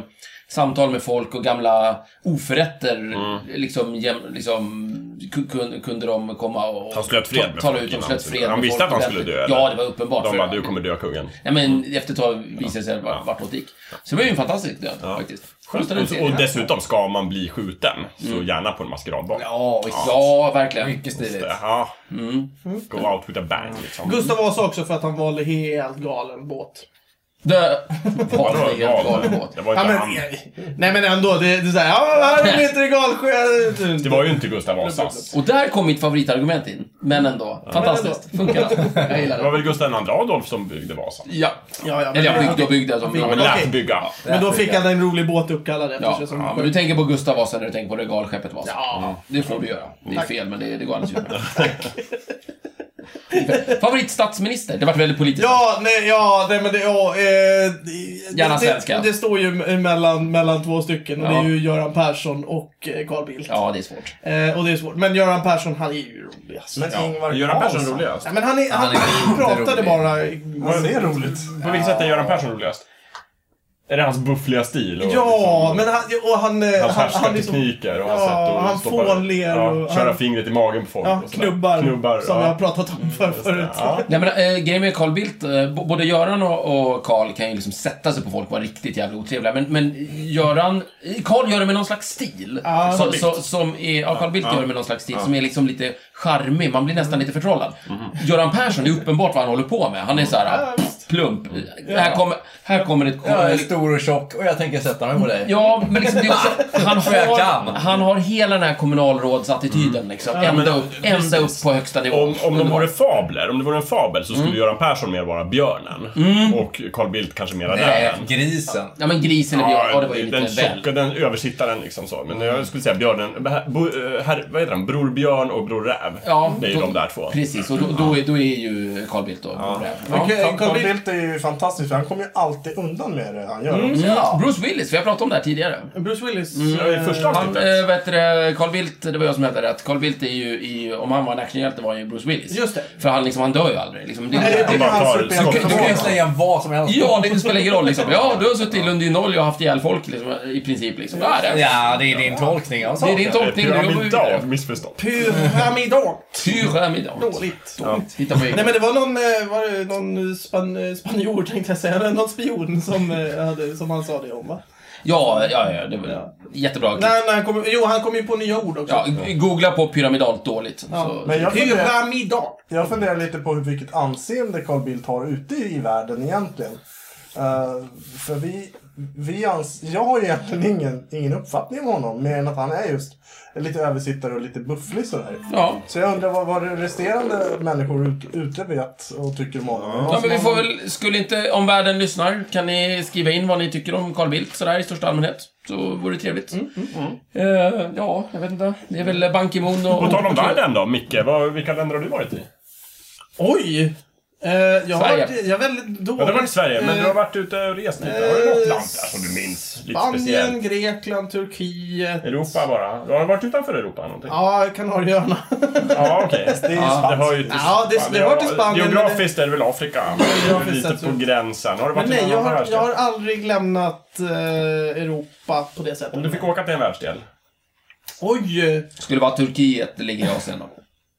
samtal med folk och gamla oförrätter.
Mm.
Liksom, jäm, liksom, ku- kun- kunde de komma och
Han slöt fred med
ta, tala
folk
ut. De
innan.
slöt fred
Han
med
visste
folk
att han skulle
ordentligt.
dö, eller?
Ja, det var uppenbart.
De
för-
bara, du kommer dö kungen.
Nej, men efter ett tag visade det sig vart- vartåt det gick. Så det var ju en fantastisk död, faktiskt. Kostade en
Och,
serie.
och dessutom, ska man bli skjuten, så
Mm.
gärna på en maskeradbal.
Ja, visst.
Ja, verkligen.
Mycket stiligt.
Ja. Go out with a bang, liksom.
Mm. Gustav Vasa också för att han valde helt galen båt.
Dö. Var
Vadå,
det en galen
galen?
båt?
Det var
Ja,
inte
men,
han.
nej men ändå, det, det är såhär, ja här är mitt regalsjö.
Det var ju inte Gustav Vasas.
Och där kom mitt favoritargument in. Men ändå. Fantastiskt. Funkar. Jag gillar
Det var
det.
väl Gustav II Adolf som byggde Vasa?
Ja.
Ja, ja, men,
Eller jag byggde och byggde. alltså. Som
Ja, men
ja,
det-
lät
Okej.
bygga.
men då fick han en rolig båt uppkallad efter sig som
ja, men du tänker på Gustav Vasa när du tänker på regalskeppet Vasa.
Ja.
Det får du göra. Det är fel, men det, det går alldeles utmärkt. Favoritstatsminister? Det vart väldigt politiskt.
Ja, nej, ja, nej men det, ja, eh, det-
Gärna
det,
svenska.
Det, det står ju me- mellan, mellan två stycken och
Ja.
det är ju Göran Persson och eh, Carl Bildt.
Ja, det är svårt.
Eh, och det är svårt. Men Göran Persson, han är ju rolig alltså.
Men Ingvar
Göran Persson
Carlsson.
roligast?
Nej, men han, är, han,
är inte
pratade
rolig.
bara...
Ja, det är roligt.
På vilket sätt är Göran Persson roligast? Är det hans buffliga stil? Och
Ja,
liksom-
men han... Och han, eh,
Hans
han, han är så-
härskartekniker och hans
Ja,
sätt att
han
stoppa-
fånler och-
ja, Köra
han-
fingret i magen på folk
Ja,
och sådär.
knubbar,
knubbar
som
ja.
vi har pratat om för, förut.
Ja.
Nej, men, eh, grejen med Carl Bildt, eh, b- både Göran och, och Carl kan ju liksom sätta sig på folk och vara riktigt jävla otrevliga. Men, men Göran, eh, Carl gör det med någon slags stil.
Ja.
som, så, som är, ja, Carl Bildt gör det med någon slags stil som är liksom lite charmig. Man blir nästan lite förtrollad. Göran Persson, det är uppenbart vad han håller på med. Han är så här
Ja, visst.
plump. Här, kommer, här kommer ett...
Jag är stor och tjock och jag tänker sätta mig på dig.
Ja, men liksom det är också, han,
jag
har,
kan.
han har hela den här kommunalrådsattityden liksom. Ända upp, ända upp på högsta nivå.
Om, om de
Underbart.
vore fabler, om det vore en fabel så
Mm.
skulle Göran Persson mer vara björnen. Och Carl Bildt kanske mera
Nej,
räven.
grisen.
Ja, men grisen är björn. Ja, det var ju
den
lite väl.
tjocka, den översittaren liksom så. Men jag skulle säga björnen, här, bo, eh, här, vad heter han? Bror Björn och Bror Räv.
Ja,
det är ju de där två. Mm.
Precis, och då, då, är, då är ju Carl Bildt då räv.
Men Carl-
Carl,
Carl Bildt-
Bildt är ju fantastisk för han kommer ju alltid undan med det han gör.
Mm.
Ja. Mm. Bruce Willis, vi har pratat om det här tidigare.
Bruce Willis.
Ja, i första
Han,
avsnittet.
äh, vet du, det, Carl Bildt, det var jag som hette rätt. Carl Bildt är ju, i, om han var en actionhjälte var han ju Bruce Willis.
Just det.
För han, liksom, han dör ju aldrig. Liksom, det,
Nej,
Han
det
bara
är hans
tar
superhjälte.
skott.
Du kan ju slänga vad som helst.
ja, det spelar ingen roll liksom. Ja, du har suttit i Lund i noll och haft ihjäl folk liksom, i princip. Liksom. Ja, det,
Ja, det är din tolkning av
det är din
saken.
tolkning, nu jobbar vi vidare.
Pyramidal, missförstånd.
Pyramidal.
Pyramidal.
Dåligt.
Titta på
Nej men det var någon, eh, var det någon span, eh, spanjor tänkte jag säga, någon spion som, eh, hade, som han sa det om va?
Ja, ja, ja, det var jättebra.
Nej, nej, han kom, jo han kom ju på nya ord också.
Ja, googla på pyramidalt dåligt.
Ja,
så,
Men jag funderar,
Pyramidal.
jag funderar lite på vilket anseende Carl Bildt har ute i världen egentligen. Eh, för vi, vi ans- jag har ju egentligen ingen, ingen uppfattning om honom mer än att han är just lite översittare och lite bufflig sådär.
ja.
Så jag undrar vad, vad det resterande människor ut, ute vet och tycker om Alltså, honom.
Ja, men vi får väl, skulle inte, om världen lyssnar, kan ni skriva in vad ni tycker om Carl Bildt sådär i största allmänhet? Så vore det trevligt. Eh, ja, jag vet inte. Det är väl Ban Ki-Moon och...
På tal om världen då, Micke. Vad, vilka länder har du varit i?
Oj! Eh, jag, har
Sverige.
varit, jag är väldigt dålig.
Ja, du har varit i Sverige, men
Eh,
du har varit ute och rest lite. Har du något
eh,
land där som du minns? Lite
Spanien,
speciellt.
Grekland, Turkiet.
Europa bara. Du har varit utanför Europa någonting?
Ja, Kanarieöarna.
Ja, okej.
Det är ju
Ja, det
spanskt.
hör ju till
Ja, det- det hör till Spanien,
Geografiskt är det väl Afrika?
Geografiskt
Lite
sett så-
på gränsen. Har du
Men
varit
nej,
i någon
jag
annan
har, jag har
världsdel?
aldrig lämnat eh, Europa på det sättet.
Om du fick åka till en världsdel?
Oj!
Skulle vara Turkiet, det ligger i Asien då.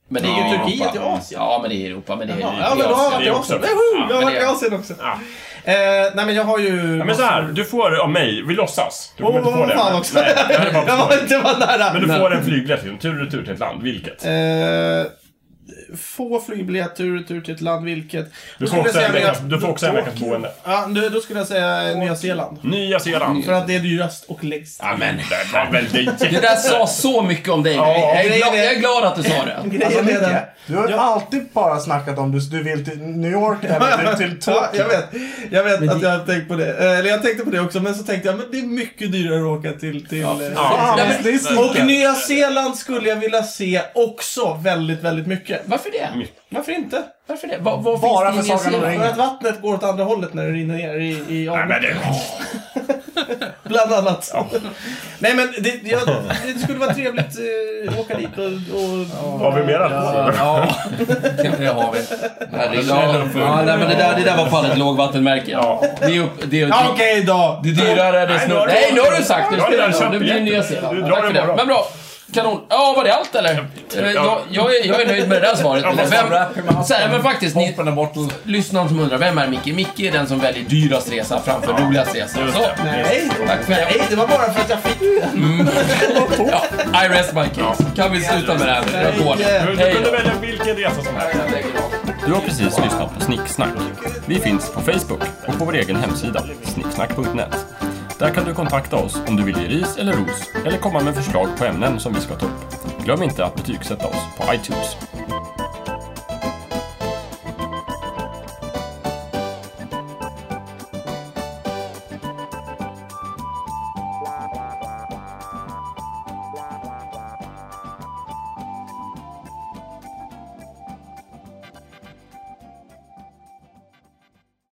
Men det är ju
Ja.
i Europa.
Turkiet i Asien?
Ja, men det är i Europa. Men det är
Ja,
i
ja, men då har jag
Asien.
varit i
det är också-
Asien. Woho! Jag har
men
varit i
det-
Asien också.
Ja.
Eh, nej, men jag har ju...
Ja, men så här, du får av mig, vi låtsas. Du kommer
Åh,
inte få det.
fan också.
Nej, det här är bara
Jag
på
var
skoj.
inte bara nära.
Men du får en flygbiljett, liksom, tur och retur till ett land. Vilket?
Eh, få flygbiljetter tur och retur till ett land, vilket...
Du
Då
får
skulle jag
också
säga
en
Nya-
veckas, du får också en veckas
Tokyo.
boende.
Ja, nu- då skulle jag säga Nya Zeeland.
Nya Zeeland.
För att det är dyrast och längst.
Ja, men det var väl det
Det där sa så mycket om dig. jag, är
det är
glad,
det.
jag är glad att du sa det.
Grejen
Alltså,
är den...
Micke, du har ju alltid bara snackat om du, du vill till New York eller till, till Tokyo.
Ja, jag vet, jag vet att jag har tänkt på det. Eh, Eller jag tänkte på det också, men så tänkte jag men det är mycket dyrare att åka till... till eh,
Fan,
Nej, men-
det är snyggt.
Och Nya Zeeland skulle jag vilja se också väldigt, väldigt mycket.
Varför det?
Varför inte?
Varför det? Vad, vad
Bara
finns det
för
i Nya
Sagan om
Zeeland?
ringen.
För att vattnet går åt andra hållet när det rinner ner i, i
Nej, men det...
Bland annat. Nej men det, jag, det skulle vara trevligt eh, att åka dit och... och
Har vi mer alkohol?
Ja, det har vi.
Herregud. Ja, nej, men det, där, det där var fallet lågvattenmärke.
Ja.
Det är, upp, det är,
Ja, Okej då!
det är dyrare, det är
Nej, nu
snurr...
har du-
Nej, nu har du sagt det.
Ja, det där
spelar ingen roll. Det
köper
blir
jag.
Nya Zeeland.
Du drar
Tack för det.
imorgon.
Men bra. Kanon. Ja, var det allt eller? Eh, Jag, jag, är, jag är nöjd med det där svaret. Vem, så här, men faktiskt, ni,
Hoppen är borta.
lyssnaren som undrar, vem är Micke? Micke är den som väljer dyrast resa framför roligast resa. Så,
Nej!
tack för det. Mm.
Nej, det var bara för att jag fick den.
Ja, I rest my case. Kan vi sluta med det här nu? Jag går.
Nej. eh,
Du
Hej
kunde
då.
välja vilken resa som helst.
Du har precis lyssnat på Snicksnack. Vi finns på Facebook och på vår egen hemsida, snicksnack.net. Där kan du kontakta oss om du vill ge ris eller ros eller komma med förslag på ämnen som vi ska ta upp. Glöm inte att betygsätta oss på iTunes.